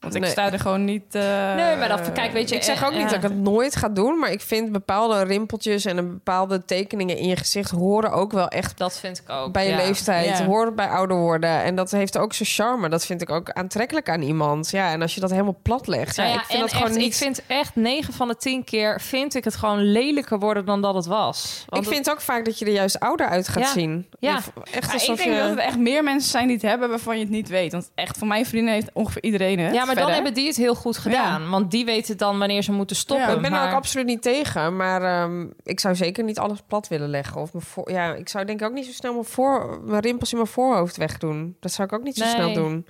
E: Want ik
F: Nee.
E: sta er gewoon niet... eh,
D: Nee, maar dat- kijk, weet je,
E: ik
F: Ik zeg ook
D: eh,
F: niet
D: ja.
F: dat ik het nooit ga doen, maar ik vind bepaalde rimpeltjes en een bepaalde tekeningen in je gezicht horen ook wel echt
D: Dat vind ik ook.
F: bij je
D: ja.
F: leeftijd,
E: Ja.
F: horen bij ouder worden. En dat heeft ook zijn charme. Dat vind ik ook aantrekkelijk aan iemand. Ja, en als je dat helemaal plat legt, ja,
D: Nou ja,
F: ik vind
D: en
F: dat gewoon
D: echt,
F: niet.
D: ik vind echt 9 van de 10 keer vind ik het gewoon lelijker worden dan dat het was. Want
F: ik vind ook vaak dat je er juist ouder uit gaat
D: Ja.
F: zien.
D: Ja.
F: Of Echt
E: Maar ik
F: alsof
E: denk
F: je...
E: dat het echt meer mensen zijn die het hebben waarvan je het niet weet. Want echt, voor mijn vrienden heeft ongeveer iedereen het.
D: het- ja, maar dan
E: verder.
D: hebben die het heel goed gedaan. Want die weten dan wanneer ze moeten stoppen.
E: Ja,
F: ik ben er
D: maar-
F: ook absoluut niet tegen, maar ehm, ik zou zeker niet alles plat willen leggen. Of mijn voor, ja, ik zou denk ik ook niet zo snel mijn, voor, mijn rimpels in mijn voorhoofd wegdoen. Dat zou ik ook niet zo
D: Nee.
F: snel doen.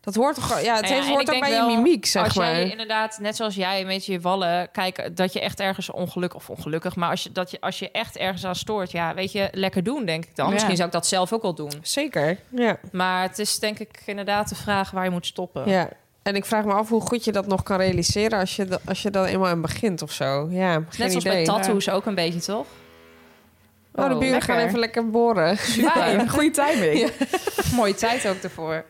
F: Dat hoort toch, ja, het
D: Nou ja,
F: heeft,
D: en
F: hoort
D: ik
F: ook
D: denk
F: bij
D: wel,
F: je mimiek, zeg
D: als
F: maar.
D: jij inderdaad, net zoals jij, met je wallen, kijk, dat je echt ergens ongelukkig of ongelukkig, maar als je, dat je, als je echt ergens aan stoort, ja, weet je, lekker doen, denk ik dan.
E: Ja.
D: Misschien zou ik dat zelf ook wel doen.
F: Zeker, ja.
D: Maar het is denk ik inderdaad de vraag waar je moet stoppen.
F: ja. En ik vraag me af hoe goed je dat nog kan realiseren als je, da- als je dan eenmaal aan begint of zo. Ja, geen
D: Net zoals
F: idee.
D: bij tattoos ook een beetje, toch?
F: Oh, de
D: Oh,
F: buren gaan
E: lekker.
F: even lekker boren. (laughs)
E: Fijn, goede timing. Ja.
D: Mooie tijd ook ervoor.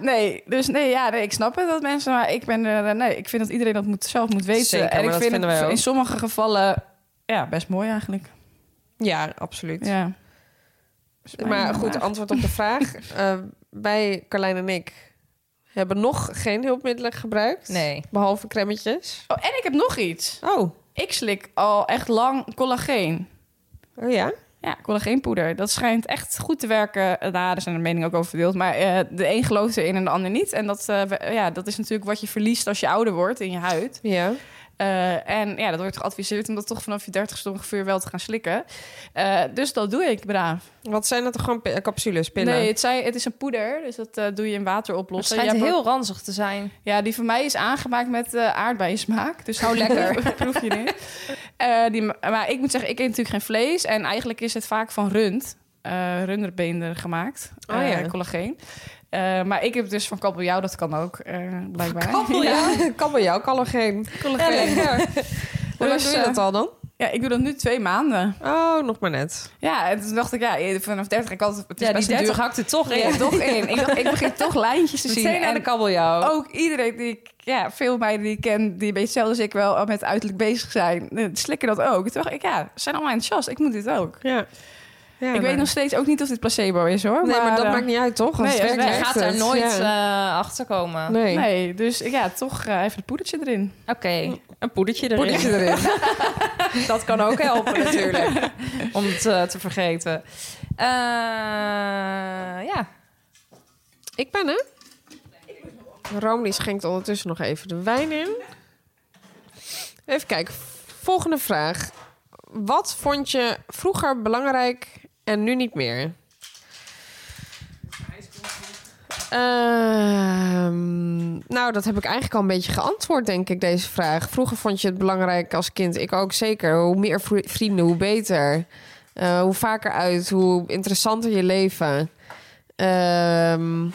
E: nee, dus nee, ja, nee, ik snap het dat mensen, maar ik ben er, eh, nee, ik vind dat iedereen dat moet, zelf moet weten.
F: Zeker,
E: en
F: maar
E: ik
F: dat
E: vind
F: vinden
E: het
F: wij ook.
E: in sommige gevallen ja, best mooi eigenlijk.
F: Ja, absoluut.
E: Ja. Is mijn
F: Maar goed,
E: vraag.
F: antwoord op de vraag. Eh, wij, Carlijn en ik, hebben nog geen hulpmiddelen gebruikt.
D: Nee.
F: Behalve kremmetjes.
E: Oh, en ik heb nog iets.
F: Oh,
E: Ik slik al echt lang collageen.
F: oh ja.
E: Ja, collageenpoeder. Dat schijnt echt goed te werken. Eh, Nou, daar zijn de meningen ook over verdeeld. Maar eh, de een gelooft erin en de ander niet. En dat, eh, we- ja, dat is natuurlijk wat je verliest als je ouder wordt in je huid.
F: Ja.
E: Eh, en ja, dat wordt geadviseerd om dat toch vanaf je dertigste ongeveer wel te gaan slikken. Eh, dus dat doe ik braaf.
F: Wat zijn dat toch gewoon pi- eh, capsules, pillen?
E: Nee, het, zei, het is een poeder, dus dat eh, doe je in water
D: Het
E: oplossen.
D: schijnt
E: Jij hebt
D: heel ranzig te zijn.
E: ook- ja, die van mij is aangemaakt met eh aardbeiensmaak. Dus hou
D: (laughs)
E: lekker. (laughs) proef je niet. Eh, die, maar ik moet zeggen, ik eet natuurlijk geen vlees. En eigenlijk is het vaak van rund. eh runderbeender gemaakt.
F: Oh
E: eh,
F: ja.
E: Collageen. Eh, maar ik heb dus van kabeljauw, dat kan ook, eh, blijkbaar. (laughs)
F: (laughs) Ja, kabeljauw, collageen.
E: Collageen.
F: Ja, lekker. Hoe lang
E: Dus,
F: doe je
E: eh,
F: dat al dan?
E: Ja, ik doe dat nu twee maanden.
F: Oh, nog maar net.
E: Ja, en toen dacht ik, ja, vanaf 30 ik altijd, het is
D: Ja, die
E: best een
D: 30
E: duur.
D: hakt er toch in.
E: Ja,
F: (laughs)
E: toch in. Ik dacht, ik begin toch lijntjes te zien.
D: (laughs)
E: Oh.
D: Meteen aan de
E: En
D: kabeljauw.
E: ook iedereen die ik, ja, veel meiden die ik ken, die een beetje zelf als ik wel al met uiterlijk bezig zijn, eh, slikken dat ook. Toen dacht ik, ja, ze zijn allemaal enthousiast. Ik moet dit ook.
F: Ja. ja nou.
E: ik weet nog steeds ook niet of dit placebo is, hoor.
F: Nee, maar dat
E: eh,
F: maakt niet uit, toch? Als
E: nee,
F: het
E: als
F: werkt,
D: Je
E: het
F: werkt
D: gaat daar
F: het.
D: nooit
F: Ja.
D: eh, achter komen.
F: Nee.
E: Nee, dus ja, toch eh, even het poedertje erin.
D: Oké, een poedertje erin.
F: Poedertje erin.
D: Dat kan ook (laughs) helpen natuurlijk. Om het eh, te vergeten. Eh, ja.
F: ik ben hè? Romney schenkt ondertussen nog even de wijn in. Even kijken. Volgende vraag. Wat vond je vroeger belangrijk en nu niet meer? Ehm, nou, dat heb ik eigenlijk al een beetje geantwoord, denk ik, deze vraag. Vroeger vond je het belangrijk als kind. Ik ook zeker. Hoe meer vri- vrienden, hoe beter. Eh, hoe vaker uit, hoe interessanter je leven. Ehm,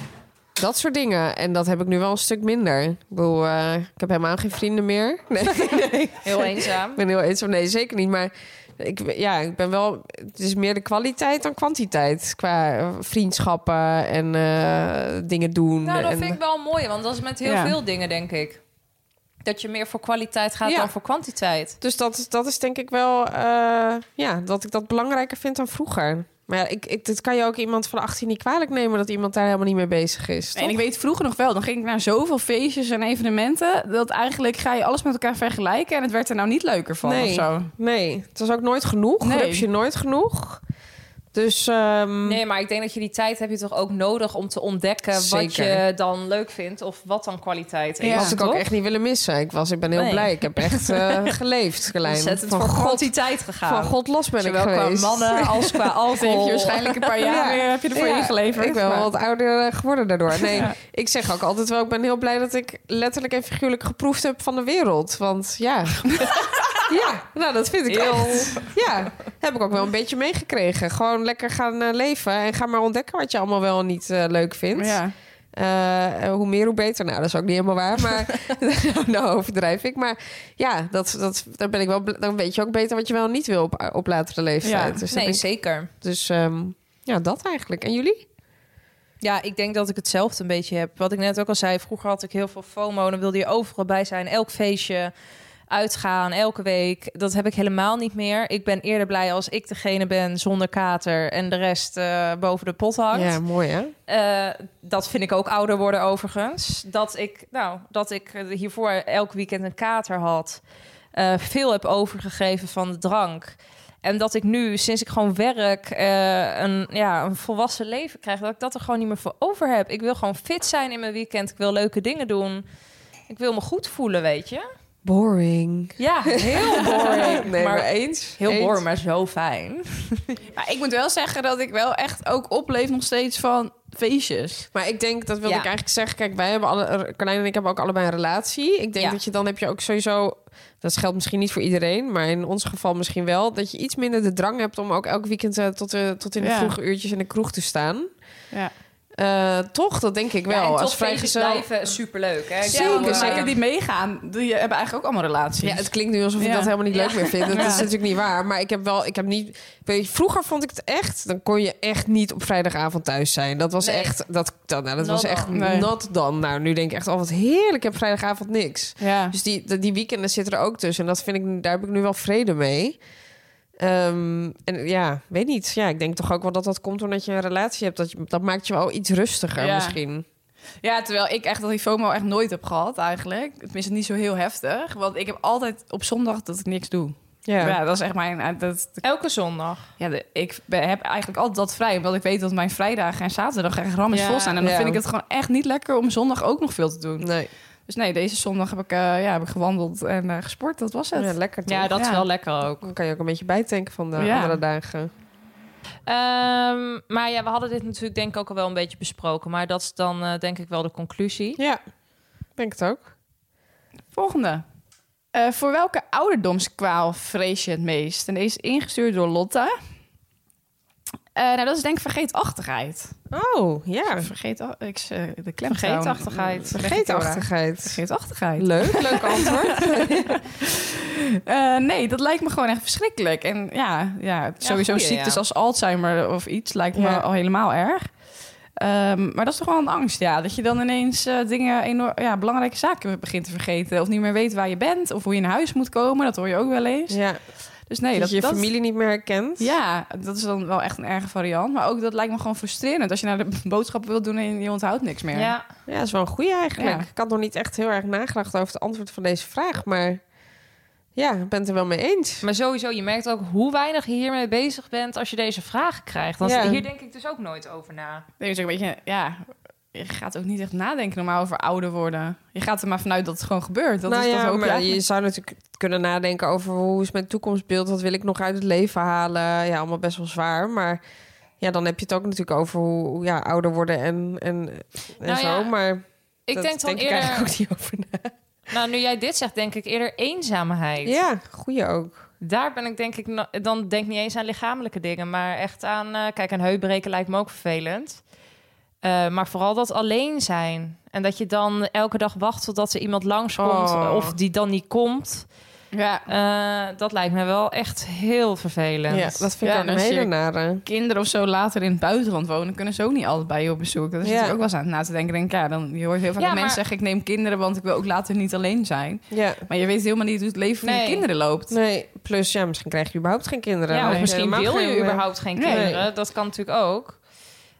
F: dat soort dingen. En dat heb ik nu wel een stuk minder. Ik bedoel, eh, ik heb helemaal geen vrienden meer. (laughs) Nee. (laughs)
D: Heel eenzaam.
F: Ik ben heel eenzaam. Nee, zeker niet. Maar ik, ja, ik ben wel. Het is meer de kwaliteit dan kwantiteit. Qua eh, vriendschappen en eh, dingen doen.
D: Nou, dat
F: en,
D: vind ik wel mooi, want dat is met heel
E: Ja.
D: veel dingen, denk ik. Dat je meer voor kwaliteit gaat
F: Ja.
D: dan voor kwantiteit.
F: Dus dat, dat is denk ik wel. eh, ja, dat ik dat belangrijker vind dan vroeger. Maar ja, ik, ik, dat kan je ook iemand van 18 niet kwalijk nemen dat iemand daar helemaal niet mee bezig is.
E: En ik weet vroeger nog wel, dan ging ik naar zoveel feestjes en evenementen, dat eigenlijk ga je alles met elkaar vergelijken en het werd er nou niet leuker van
F: Nee.
E: of zo.
F: Nee, het was ook nooit genoeg.
E: Nee.
F: Heb je nooit genoeg. Dus ehm,
D: Nee, maar ik denk dat je die tijd heb je toch ook nodig om te ontdekken wat
F: Zeker.
D: je dan leuk vindt of wat dan kwaliteit is.
E: Ja.
F: had ik ook
D: toch?
F: echt niet willen missen. Ik, was, ik ben heel
D: Nee.
F: blij. Ik heb echt (laughs) eh, geleefd, Carlijn.
D: ontzettend
F: Van
D: voor
F: God,
D: kwantiteit gegaan.
F: van God los ben
D: Zowel
F: ik
D: qua
F: geweest. (laughs)
D: mannen als qua
E: Dan heb
D: alcohol.
E: je waarschijnlijk een paar jaar weer heb je ervoor
F: Ja,
E: ingeleverd.
F: Ik ben wel
E: maar-
F: wat ouder eh, geworden daardoor. (laughs) Nee, ik zeg ook altijd wel, ik ben heel blij dat ik letterlijk en figuurlijk geproefd heb van de wereld. Want ja, (laughs) ja nou dat vind ik heel... Ja, heb ik ook wel een beetje meegekregen. Gewoon lekker gaan eh, leven en ga maar ontdekken wat je allemaal wel en niet eh, leuk vindt.
E: Ja.
F: Eh, hoe meer, hoe beter. Nou, dat is ook niet helemaal waar, maar (laughs) nou overdrijf ik. Maar ja, dat, dat, daar ben ik wel, bl- dan weet je ook beter wat je wel en niet wil op, op latere leeftijd.
E: Ja.
F: Dus, dat
D: Nee,
F: vind ik-
D: zeker.
F: dus ehm, ja, dat eigenlijk. En jullie?
D: Ja, ik denk dat ik hetzelfde een beetje heb. Wat ik net ook al zei, vroeger had ik heel veel FOMO. Dan wilde je overal bij zijn. Elk feestje, uitgaan, elke week. Dat heb ik helemaal niet meer. Ik ben eerder blij als ik degene ben zonder kater... en de rest eh, boven de pot hangt.
F: Ja, mooi hè?
D: Eh, dat vind ik ook ouder worden overigens. Dat ik, nou, dat ik eh, hiervoor elk weekend een kater had. eh, veel heb overgegeven van de drank. En dat ik nu, sinds ik gewoon werk, eh, een, ja, een volwassen leven krijg... dat ik dat er gewoon niet meer voor over heb. Ik wil gewoon fit zijn in mijn weekend. Ik wil leuke dingen doen. Ik wil me goed voelen, weet je?
F: Boring.
D: Ja, (laughs) heel boring.
F: Nee, maar,
D: maar e-
F: eens.
D: heel
F: Eens.
D: boring, maar zo fijn.
E: Maar ik moet wel zeggen dat ik wel echt ook opleef nog steeds van feestjes.
F: Maar ik denk, dat wilde
D: Ja.
F: ik eigenlijk zeggen. Kijk, wij hebben alle, Carlijn en ik hebben ook allebei een relatie. Ik denk
D: Ja.
F: dat je dan heb je ook sowieso. Dat geldt misschien niet voor iedereen, maar in ons geval misschien wel. Dat je iets minder de drang hebt om ook elk weekend eh, tot, de, tot in de
E: Ja.
F: vroege uurtjes in de kroeg te staan.
E: Ja.
F: Eh, toch, dat denk ik wel.
D: Ja, en
F: Als
D: toch feestjes
F: vrijgezel.
D: blijven superleuk, hè? Ik
F: Zeker,
D: bedoel,
E: Ja,
D: eh,
E: want zeker die meegaan, die hebben eigenlijk ook allemaal relaties.
F: Ja, het klinkt nu alsof ik
E: Ja.
F: dat helemaal niet leuk meer vind. Dat
E: Ja.
F: is natuurlijk niet waar. Maar ik heb wel, ik heb niet. Weet je, vroeger vond ik het echt. Dan kon je echt niet op vrijdagavond thuis zijn. Dat was
D: Nee.
F: echt. Dat, dat, nou, dat
D: Not
F: was echt
E: dan. Nee.
F: nat dan. Nou, nu denk ik echt al wat heerlijk. Ik heb vrijdagavond niks.
E: Ja.
F: Dus die, de- die weekenden zitten er ook tussen. En dat vind ik, daar heb ik nu wel vrede mee. Ehm, en ja, weet niet. Ja, ik denk toch ook wel dat dat komt omdat je een relatie hebt. Dat, je, dat maakt je wel iets rustiger
E: Ja.
F: misschien.
E: Ja, terwijl ik echt dat die FOMO echt nooit heb gehad eigenlijk. Tenminste, niet zo heel heftig. Want ik heb altijd op zondag dat ik niks doe. Ja,
F: Ja.
E: dat is echt mijn... eh, Dat,
D: Elke zondag.
E: ja, de- ik ben- heb eigenlijk altijd dat vrij. Omdat ik weet dat mijn vrijdagen en zaterdag echt rammers
D: Ja,
E: vol zijn. En dan
F: ja.
E: vind ik het gewoon echt niet lekker om zondag ook nog veel te doen.
F: Nee.
E: Dus nee, deze zondag heb ik, eh, ja, heb ik gewandeld en eh, gesport. Dat was het.
F: Ja, lekker toch?
D: Ja, dat is
E: Ja.
D: wel lekker ook.
F: Dan kan je ook een beetje bijtanken van de
E: Ja.
F: andere dagen.
D: Ehm, maar ja, we hadden dit natuurlijk denk ik ook al wel een beetje besproken. Maar dat is dan eh, denk ik wel de conclusie.
F: Ja, denk het ook.
E: Volgende. Eh, voor welke ouderdomskwaal vrees je het meest? En deze is ingestuurd door Lotte. Eh, nou, dat is denk ik vergeetachtigheid.
F: Oh, ja.
E: Vergeet, ik, eh, de klem
D: Vergeetachtigheid.
F: Vergeetachtigheid.
E: Vergeetachtigheid.
F: Leuk, leuk antwoord.
E: Eh, nee, dat lijkt me gewoon echt verschrikkelijk. En ja, ja sowieso
D: goeie,
E: ziektes
D: ja.
E: als Alzheimer of iets lijkt me
F: Ja.
E: al helemaal erg. Ehm, maar dat is toch wel een angst, ja. Dat je dan ineens eh, dingen, enorm, ja, belangrijke zaken begint te vergeten. Of niet meer weet waar je bent. Of hoe je naar huis moet komen. Dat hoor je ook wel eens.
F: (laughs) ja,
E: Dus nee,
F: dat,
E: dat
F: je je
E: dat-
F: familie niet meer herkent.
E: Ja, dat is dan wel echt een erge variant. Maar ook dat lijkt me gewoon frustrerend. Als je naar de (laughs) boodschappen wilt doen en je onthoudt niks meer.
D: Ja.
F: Ja, dat is wel een goeie eigenlijk.
E: Ja.
F: Ik had nog niet echt heel erg nagedacht over het antwoord van deze vraag, maar ja, ik ben het er wel mee eens.
D: Maar sowieso, je merkt ook hoe weinig je hiermee bezig bent als je deze vragen krijgt. Want
F: Ja.
D: hier denk ik dus ook nooit over na.
E: Nee, dus ook een beetje, ja, je gaat ook niet echt nadenken normaal over ouder worden. Je gaat er maar vanuit dat het gewoon gebeurt. Dat
F: nou
E: is
F: ja,
E: toch ook
F: maar je zou natuurlijk kunnen nadenken over hoe is mijn toekomstbeeld, wat wil ik nog uit het leven halen. Ja, allemaal best wel zwaar, maar ja, dan heb je het ook natuurlijk over hoe hoe, ja, ouder worden en, en, en
D: Nou
F: zo,
D: ja,
F: maar
D: Ik
F: dat
D: denk dan
F: ik
D: eerder...
F: eigenlijk ook niet over na.
D: Nou, nu jij dit zegt, denk ik eerder eenzaamheid.
F: Ja, goeie ook.
D: Daar ben ik denk ik... no- Dan denk ik niet eens aan lichamelijke dingen, maar echt aan... eh, kijk, een heupbreken lijkt me ook vervelend. Eh, maar vooral dat alleen zijn. En dat je dan elke dag wacht totdat er iemand langskomt.
F: Oh.
D: Of die dan niet komt.
E: Ja,
D: Eh, dat lijkt me wel echt heel vervelend.
F: Ja, dat vind ik
E: Ja, dan
F: ook
D: nou,
F: een
E: zie
F: hele
E: ik-
F: nare.
E: kinderen of zo later in het buitenland wonen... kunnen ze ook niet altijd bij je op bezoek. Dat is
F: Ja.
E: natuurlijk ook wel eens aan het na te denken. Denk, ik, ja, dan, je hoort heel vaak
D: Ja,
E: dat mensen
D: maar-
E: zeggen... ik neem kinderen, want ik wil ook later niet alleen zijn.
F: Ja.
E: Maar je weet helemaal niet hoe het leven van
D: Nee.
E: je kinderen loopt.
F: Nee, plus ja, misschien krijg je überhaupt geen kinderen.
D: Ja,
F: Dan
D: of
F: heb
D: misschien
F: helemaal
D: wil je
F: geen, eh,
D: überhaupt geen
F: Nee.
D: kinderen. Dat kan natuurlijk ook.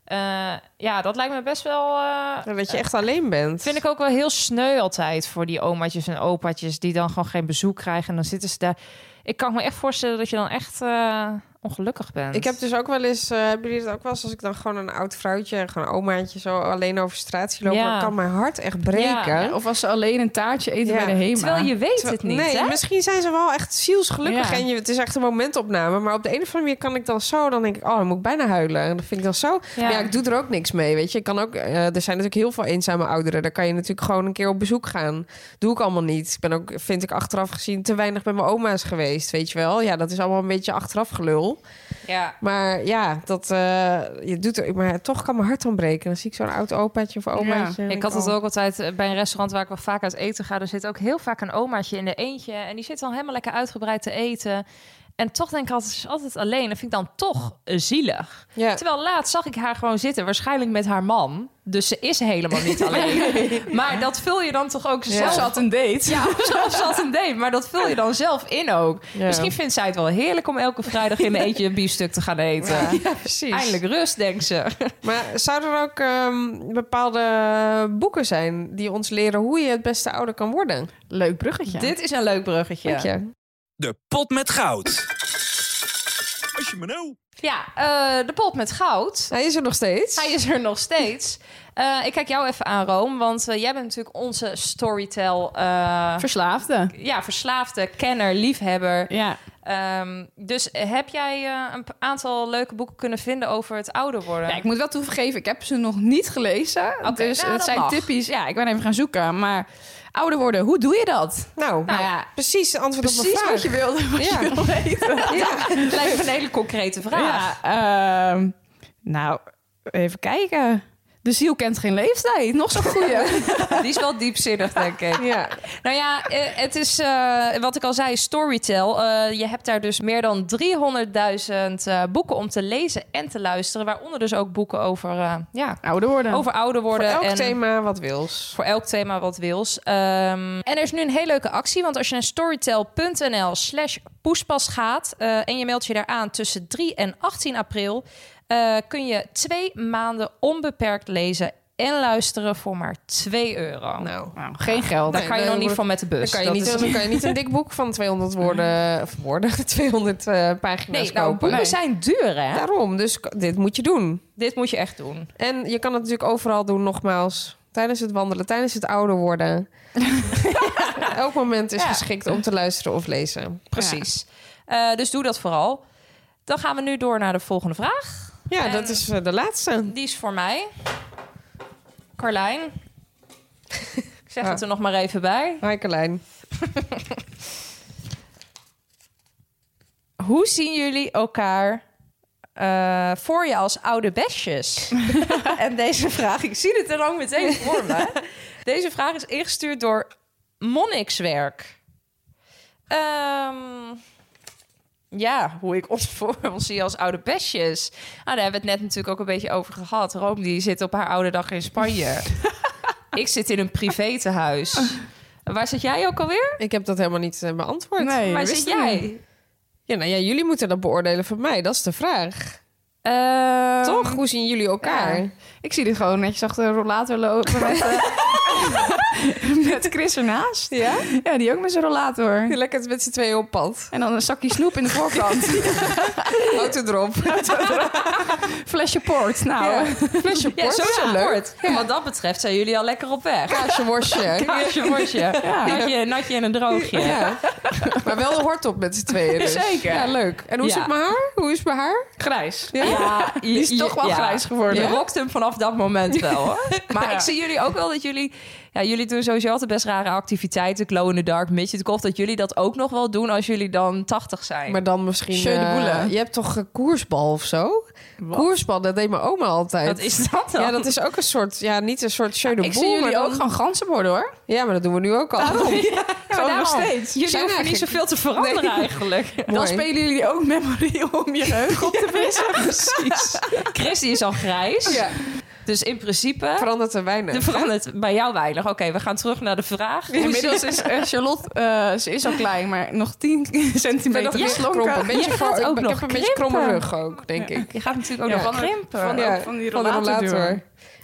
D: Eh, ja, dat lijkt me best wel... eh,
F: Dat je echt alleen bent.
D: vind ik ook wel heel sneu altijd voor die omaatjes en opaatjes... die dan gewoon geen bezoek krijgen en dan zitten ze daar. Ik kan me echt voorstellen dat je dan echt eh, ongelukkig bent.
F: Ik heb dus ook wel eens, eh, hebben jullie het ook wel eens, als ik dan gewoon een oud vrouwtje, gewoon een omaatje zo alleen over straat zie lopen,
D: Ja.
F: dan kan mijn hart echt breken.
D: Ja, ja,
E: Of als ze alleen een taartje eten
F: Ja.
E: bij de HEMA.
D: Terwijl je weet het niet,
F: nee,
D: hè?
F: misschien zijn ze wel echt zielsgelukkig
E: Ja.
F: en je, het is echt een momentopname. Maar op de een of andere manier kan ik dan zo, dan denk ik, oh, dan moet ik bijna huilen. En dan vind ik dan zo.
D: Ja.
F: Maar ja, ik doe er ook niks mee, weet je. Ik kan ook, eh, er zijn natuurlijk heel veel eenzame ouderen. Daar kan je natuurlijk gewoon een keer op bezoek gaan. Doe ik allemaal niet. Ik ben ook, vind ik achteraf gezien, te weinig bij mijn oma's geweest, weet je wel. Ja, dat is allemaal een beetje achteraf gelul.
D: Ja.
F: Maar ja, dat eh, je doet er, maar toch kan mijn hart dan breken. Dan zie ik zo'n oud opaatje of omaatje. en
D: Ik had het
F: oh. (laughs)
D: ook altijd eh, bij een restaurant waar ik wel vaak uit eten ga. Er zit ook heel vaak een omaatje in de eentje. En die zit dan helemaal lekker uitgebreid te eten. En toch denk ik altijd, ze is altijd alleen. Dat vind ik dan toch eh, zielig.
F: Ja.
D: Terwijl laatst zag ik haar gewoon zitten, waarschijnlijk met haar man. Dus ze is helemaal
F: (laughs)
D: niet alleen. Maar dat vul je dan toch ook
E: Of
D: zelf
E: ze had een date.
D: ja, of zo- of ze had een date. Maar dat vul je dan zelf in ook.
F: Ja.
D: Misschien vindt zij het wel heerlijk om elke vrijdag in mijn eentje een biefstuk te gaan eten.
F: precies.
D: Eindelijk rust, denkt ze.
F: Maar zouden er ook ehm, bepaalde boeken zijn die ons leren hoe je het beste ouder kan worden?
E: Leuk bruggetje.
D: Dit is een leuk bruggetje.
F: Dank je.
B: De pot met goud. Als je me nou...
D: Ja, eh, de pot met goud.
F: Hij is er nog steeds.
D: Hij is er nog steeds. Eh, ik kijk jou even aan, Rome. Want eh, jij bent natuurlijk onze storytell... eh,
E: Verslaafde.
D: ja, verslaafde, kenner, liefhebber.
E: Ja.
D: Ehm, dus heb jij eh, een p- aantal leuke boeken kunnen vinden over het ouder worden?
E: Ja, ik moet wel toegeven, ik heb ze nog niet gelezen.
D: Oké,
E: dus
D: nou,
E: het
D: dat
E: zijn
D: mag. (laughs)
E: typisch. Ja, nou, even gaan zoeken. Maar ouder worden, hoe doe je dat?
F: Nou,
E: Nou ja,
F: precies het antwoord op mijn
E: precies
F: vraag.
E: wat je wilde, wat
F: Ja.
E: je wilde weten.
D: Het lijkt me een hele concrete vraag.
E: (laughs) Ja, ehm, nou, even kijken. De ziel kent geen leeftijd. Nog zo'n goeie.
D: Die is wel diepzinnig, denk ik.
F: Ja.
D: Nou ja, eh, het is eh, wat ik al zei, Storytel. Eh, je hebt daar dus meer dan 300.000 eh, boeken om te lezen en te luisteren. Waaronder dus ook boeken over, eh, ja,
E: (laughs) Ouder worden.
D: over ouder worden.
F: Elk
D: en
F: thema wat wils.
D: Voor elk thema wat wils. Ehm, en er is nu een hele leuke actie. Want als je naar storytel.nl slash poespas gaat... eh, en je meldt je daar aan tussen 3 en 18 april... eh, kun je twee maanden onbeperkt lezen en luisteren voor maar 2 euro.
F: Nou,
E: Nou, geen geld.
D: Daar
F: Nee,
D: kan je
F: dan
D: nog niet
F: wordt-
D: van met de
F: dan
D: bus.
F: kan, je
D: Dat
F: niet,
D: is-
F: dan kan je niet een dik boek van 200
D: (laughs)
F: woorden, of woorden 200 eh, pagina's
D: Nee, nou,
F: kopen.
D: boeken zijn duur, hè?
F: Daarom, dus k- dit moet je doen.
D: Dit moet je echt doen.
F: En je kan het natuurlijk overal doen, nogmaals. Tijdens het wandelen, tijdens het ouder (laughs) worden. Elk moment is
D: Ja.
F: geschikt om te luisteren of lezen.
D: Precies. Eh, dus doe dat vooral. Dan gaan we nu door naar de volgende vraag.
F: Ja,
D: En-
F: dat is eh, de laatste.
D: Die is voor mij. Carlijn. (laughs) Ik zeg
F: Ah.
D: het er nog maar even bij.
F: Hi, Carlijn.
D: Hoe zien jullie elkaar eh, voor je als oude besjes? en deze vraag, ik zie het er ook meteen voor me. Deze vraag is ingestuurd door Monnikswerk. Ehm, ja, hoe ik ons voor (laughs) ons zie als oude besjes. Nou, daar hebben we het net natuurlijk ook een beetje over gehad. Room die zit op haar oude dag in Spanje. ik zit in een privétehuis. Waar zit jij ook alweer?
F: Ik heb dat helemaal niet eh, beantwoord.
E: Nee,
D: Waar
E: wist
D: zit
E: het
D: jij?
E: niet.
F: Ja, nou ja, jullie moeten dat beoordelen van mij. Dat is de vraag.
D: Ehm,
F: Toch? Hoe zien jullie elkaar?
E: Ja. Ik zie dit gewoon netjes achter een rollator lopen met, eh, (laughs) met Chris ernaast.
F: Ja?
E: Ja, die ook met zijn rollator.
F: Lekker met z'n tweeën op pad.
E: En dan een zakje snoep in de (laughs) voorkant.
F: Auto
E: (laughs)
F: erop.
E: Flesje port. Nou,
F: Ja.
E: eh,
F: Flesje
D: Ja,
F: port.
D: zo
F: Ja.
D: zo Port. Wat dat betreft zijn jullie al lekker op weg.
F: Kaasje (laughs) worstje.
D: Kaasje, worstje,
E: Ja.
D: natje, natje en een droogje.
F: Ja. Maar wel de hort op met z'n tweeën. Dus.
E: Zeker.
F: Ja, leuk. En hoe
D: Ja.
F: zit mijn haar? Hoe is mijn haar?
E: grijs.
F: Ja.
D: die
E: is toch wel grijs geworden.
D: Je rokt hem vanaf dat moment wel. Hoor. (laughs) Maar ik zie jullie ook wel dat jullie... Ja, jullie doen sowieso altijd best rare activiteiten. Glow in the dark, midget golf. Dat jullie dat ook nog wel doen als jullie dan 80 zijn.
F: Maar dan misschien...
E: Schöne
F: eh,
E: boele.
F: je hebt toch eh, koersbal of zo? Koersbal, dat deed mijn oma altijd.
D: Wat is dat dan?
F: Ja, dat is ook een soort... Ja, niet een soort show de
E: Ik zie jullie ook gewoon ganzen worden hoor.
F: Ja, maar dat doen we nu ook al.
D: Ja, maar
E: gewoon nog
D: daarom.
E: steeds.
D: Jullie
F: Zijn
D: hoeven niet
F: eigenlijk-
D: zoveel te veranderen (laughs) eigenlijk.
F: Mooi.
E: Dan spelen jullie ook memory (laughs) om je geheugen op te (laughs) wissen.
D: Precies. Chris die is al grijs.
F: Ja.
D: Dus in principe...
F: Verandert er
D: (laughs)
F: weinig.
D: Er verandert bij jou weinig. Oké, we gaan terug naar de vraag. Hoe
E: Inmiddels
D: zit-
E: is eh, Charlotte, eh, ze is al klein, maar nog 10 (laughs) centimeter
D: Ja,
E: geslonken.
F: Krompen. Een beetje
D: Jij
F: voor-
D: gaat
F: ik,
D: ook
F: ben- ik
D: nog
F: heb een beetje kromme
D: krimpen.
F: rug ook,
D: (laughs)
F: denk ik.
D: (laughs) Je gaat natuurlijk ook
F: Ja.
D: nog krimpen.
E: Van-
F: Ja,
E: van die
F: de
E: rollator.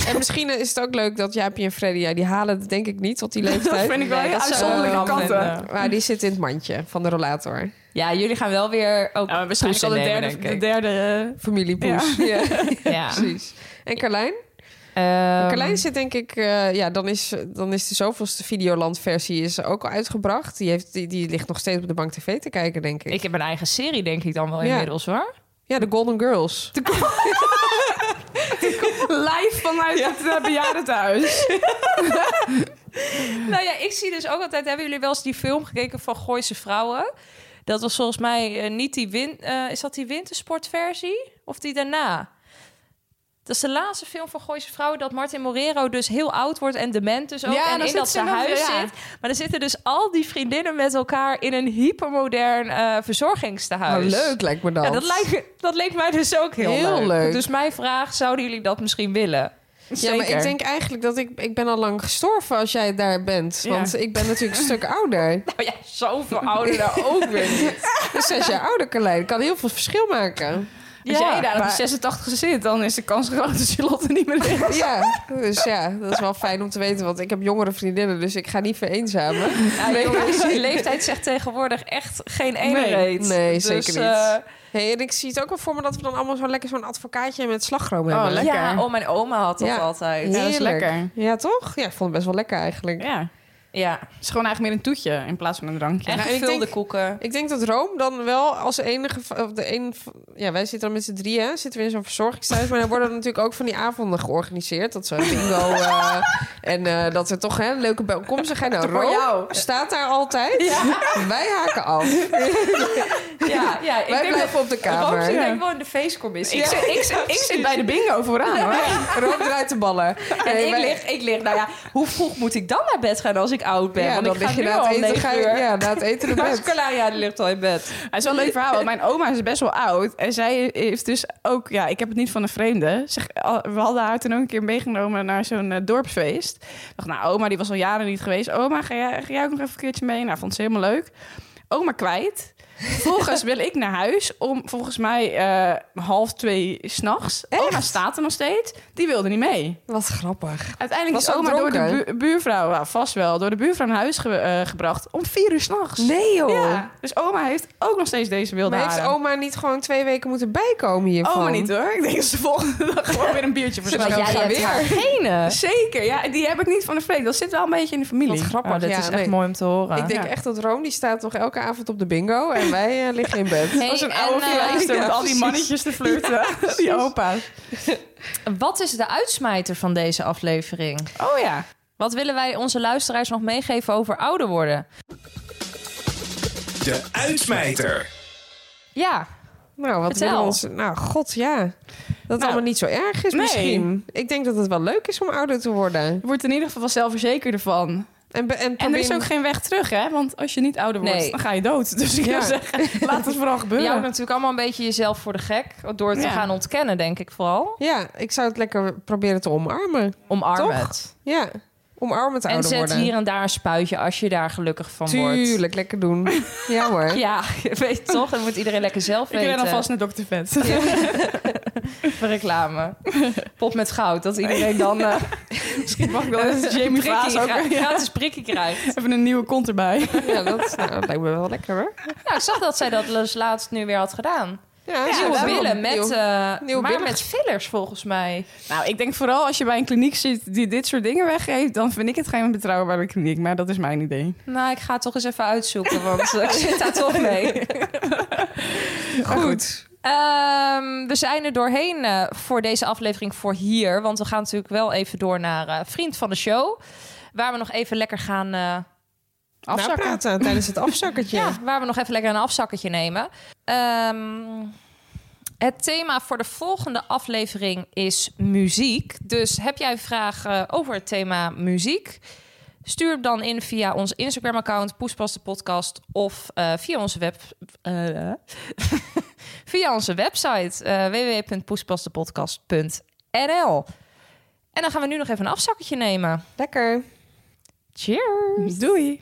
F: En misschien is het ook leuk dat Jaapie en Freddy... Ja, die halen het denk ik niet tot die leeftijd.
E: Dat eh, vind ik wel
D: Nee,
E: heel
D: dat zou
E: uitzonderlijke
D: ik wel
E: kanten.
D: vinden.
F: Maar die zit in het mandje van de rollator.
D: Ja, jullie gaan wel weer ook
E: Ja, maar waarschijnlijk
D: toetsen
E: al de
D: nemen,
E: derde, de eh,
D: denk ik.
E: derde
F: Familiepoes. Ja.
D: (laughs) Ja.
F: precies. En Carlijn?
D: Ehm,
F: Carlijn zit denk ik... eh, ja, dan is, dan is de zoveelste Videoland-versie is ook al uitgebracht. Die, heeft, die, die ligt nog steeds op de bank tv te kijken, denk ik.
D: ik heb een eigen serie, denk ik dan wel
F: Ja.
D: inmiddels, hoor.
F: Ja, de Golden Girls.
E: live vanuit het eh, bejaardentehuis.
D: Nou ja, ik zie dus ook altijd... Hebben jullie wel eens die film gekeken van Gooise Vrouwen? Dat was volgens mij eh, niet die... Win, eh, is dat die wintersportversie? Of die daarna? Dat is de laatste film van Gooise Vrouwen dat Martin Morero dus heel oud wordt en dement dus ook.
E: Ja,
D: en
E: dan
D: in
E: zit
D: dat
E: ze
D: zijn
E: nog-
D: huis
E: ja.
D: zit. Maar dan zitten dus al die vriendinnen met elkaar in een hypermodern eh
F: Nou,
D: verzorgingstehuis.
F: leuk lijkt me dat.
D: Ja, dat, lijkt, me- dat leek mij dus ook heel,
F: Heel leuk.
D: Dus mijn vraag, zouden jullie dat misschien willen?
F: Ja, maar ik denk eigenlijk dat ik... Ik ben al lang gestorven als jij daar bent. Want ik ben natuurlijk een stuk ouder.
D: Oh ja, zoveel
F: (laughs)
D: ouder ook weer niet.
F: Dus zes jaar ouder kan leiden. Kan heel veel verschil maken.
E: Als
D: Ja,
E: jij daar op
D: maar-
E: die 86 zit, dan is de kans groot dat je lot er
D: (laughs)
E: niet meer in.
F: Ja, dus ja, dat is wel fijn om te weten. Want ik heb jongere vriendinnen, dus ik ga niet vereenzamen.
D: Ja, jongens, je leeftijd zegt tegenwoordig echt geen ene
E: Nee,
D: reet.
F: nee,
D: Dus,
F: zeker niet.
D: eh,
F: Hey, en ik zie het ook wel voor me dat we dan allemaal zo lekker zo'n advocaatje met slagroom
E: Oh,
F: hebben.
E: lekker.
D: Ja, oh, mijn oma had dat
F: Ja.
D: altijd.
E: Ja, dat is
F: Heerlijk.
E: lekker.
F: Ja, toch? Ja, ik vond het best wel lekker eigenlijk.
E: Ja.
D: Ja,
E: Het is gewoon eigenlijk meer een toetje in plaats van een drankje.
D: en
F: Nou, ik
D: gevulde
F: denk-
E: (laughs)
D: koeken.
F: Ik denk dat Rome dan wel als enige... v- Of de een, v- ja, wij zitten dan met z'n drieën, hè, zitten we in zo'n verzorgingsthuis. maar dan worden er natuurlijk ook van die avonden georganiseerd. Dat zo'n bingo... eh, en eh, dat er toch hè, leuke bijeenkomstigheid... Nou,
E: Voor
F: Rome
E: jou.
F: staat daar altijd. Wij haken af.
D: Ja, ja ik
F: Wij
D: denk dat
F: blijven
D: Roos
F: op de
D: zit
F: kamer.
D: denk ik wel in de feestcommissie.
E: Ik, zit, ik, zit, ik zit bij de bingo vooraan hoor.
F: Rob draait de ballen.
D: En
F: Nee,
D: ik,
F: wij-
D: lig, ik lig, nou ja, hoe vroeg moet ik dan naar bed gaan als ik oud ben?
F: Ja,
D: Want
F: dan
D: ik ga
F: lig je
D: nu
F: na
D: al
F: het
D: om
F: eten,
D: negen
F: ga
D: (laughs)
F: je,
D: uur.
F: ja, na het eten naar bed.
D: ja, die ligt al in bed.
E: Het is wel een leuk verhaal, want mijn oma is best wel oud. En zij heeft dus ook, ja, ik heb het niet van een vreemde. Zeg, al- we hadden haar toen ook een keer meegenomen naar zo'n eh, dorpsfeest. Ik dacht, nou, oma, die was al jaren niet geweest. Oma, ga jij, ga jij ook nog even een keertje mee? Nou, vond ze helemaal leuk. Oma kwijt.
F: (laughs)
E: Vervolgens wil ik naar huis om volgens mij eh, half twee s'nachts. Oma staat er nog steeds. Die wilde niet mee.
F: Wat grappig.
E: Uiteindelijk
F: Was
E: is
F: ze ook
E: oma door de
F: dronken?
E: bu- buurvrouw, nou, vast wel, door de buurvrouw naar huis ge- eh, gebracht om vier uur s'nachts.
F: Nee joh.
E: Ja, dus oma heeft ook nog steeds deze wilde
F: Maar heeft
E: haren.
F: oma niet gewoon twee weken moeten bijkomen hiervan?
E: Oma Oh, niet hoor. Ik denk dat ze volgende dag gewoon weer een biertje
F: Ze
E: verzorgt.
F: was jij hebt haar
D: genen.
E: Zeker, ja. Die heb ik niet van de vreemd. Dat zit wel een beetje in de familie. Oh,
F: Wat grappig.
D: dit
F: ja,
D: is echt
F: nee.
D: mooi om te horen.
F: Ik denk
E: Ja.
F: echt dat Room die staat nog elke avond op de bingo en wij eh, liggen in bed.
D: Hey,
E: Als een
D: en,
E: oude
D: eh,
E: vrijster
F: ja,
E: met al die
F: precies.
E: mannetjes te flirten. die opa's.
D: Wat is de uitsmijter van deze aflevering?
E: Oh ja.
D: Wat willen wij onze luisteraars nog meegeven over ouder worden?
B: De uitsmijter.
D: Ja,
F: Nou, wat
D: Vertel.
F: willen we ons? Nou, god ja. Dat het
E: Nou,
F: allemaal niet zo erg is
E: nee.
F: misschien. Ik denk dat het wel leuk is om ouder te worden.
E: Je wordt in ieder geval wel zelfverzekerder van.
F: En, be- en,
E: En er
F: probeer-
E: is ook geen weg terug, hè? Want als je niet ouder wordt,
D: Nee.
E: dan ga je dood. Dus ik
F: Ja.
E: zou (laughs) zeggen, laat het vooral
D: je
E: gebeuren.
D: houdt natuurlijk allemaal een beetje jezelf voor de gek. Door te
E: Ja.
D: gaan ontkennen, denk ik vooral.
F: Ja, ik zou het lekker proberen te omarmen.
D: Omarm
F: Toch?
D: het.
F: Ja, omarmen het
D: En
F: ouder
D: zet
F: worden.
D: hier en daar een spuitje als je daar gelukkig van wordt.
F: Tuurlijk, lekker doen. Ja hoor.
D: Ja, je weet toch? Dat moet iedereen lekker zelf
E: (laughs) ik
D: weten.
E: ren alvast naar Dr. Vet. (laughs)
D: Voor reclame. (laughs) Pot met goud. Dat iedereen dan eh,
E: (laughs) Misschien mag ik
D: (laughs)
E: wel eens Jamie
D: prikkie,
E: Vaas ook
D: gra-
E: (laughs) ja,
D: gratis prikkie krijgt.
E: even een nieuwe kont erbij.
F: Ja, dat, nou, dat lijkt me wel lekker hoor.
D: Ja, ik zag dat zij dat dus laatst nu weer had gedaan.
F: Ja,
D: nieuwe
F: daarom.
D: billen met,
F: Nieuw-
D: eh,
F: nieuwe
D: maar
F: billen.
D: met fillers volgens mij.
E: (laughs) Nou, ik denk vooral als je bij een kliniek zit die dit soort dingen weggeeft, dan vind ik het geen betrouwbare kliniek. Maar dat is mijn idee.
D: Nou, ik ga het toch eens even uitzoeken, (laughs) want ik zit daar toch mee.
E: Goed.
D: Ehm, we zijn er doorheen eh, voor deze aflevering voor hier. Want we gaan natuurlijk wel even door naar eh, Vriend van de Show. Waar we nog even lekker gaan... eh,
F: Afzakken. Napraten tijdens het afzakkertje.
D: Ja, waar we nog even lekker een afzakketje nemen. Ehm, het thema voor de volgende aflevering is muziek. Dus heb jij een vraag eh, over het thema muziek? Stuur hem dan in via ons Instagram-account, Poespas de Podcast, of eh, via onze web. eh, (laughs) via onze website eh www.poespasdepodcast.nl. En dan gaan we nu nog even een afzakketje nemen.
F: Lekker.
D: Cheers!
E: Doei.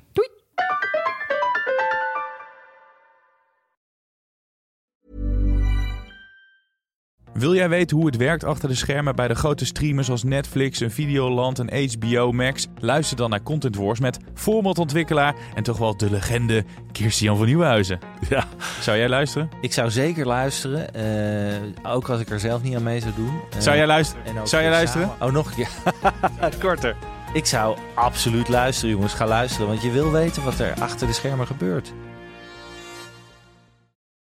G: Wil jij weten hoe het werkt achter de schermen bij de grote streamers als Netflix, een Videoland en HBO Max? Luister dan naar Content Wars met formatontwikkelaar en toch wel de legende Kirstian van Nieuwenhuizen. Ja. Zou jij luisteren?
H: Ik zou zeker luisteren. eh, ook als ik er zelf niet aan mee zou doen. Eh,
G: Zou jij luisteren?
H: en ook
G: zou jij
H: weer
G: luisteren?
H: samen- Oh, nog
G: (laughs)
H: een keer.
G: Korter.
H: Ik zou absoluut luisteren, jongens. Ga luisteren, want je wil weten wat er achter de schermen gebeurt.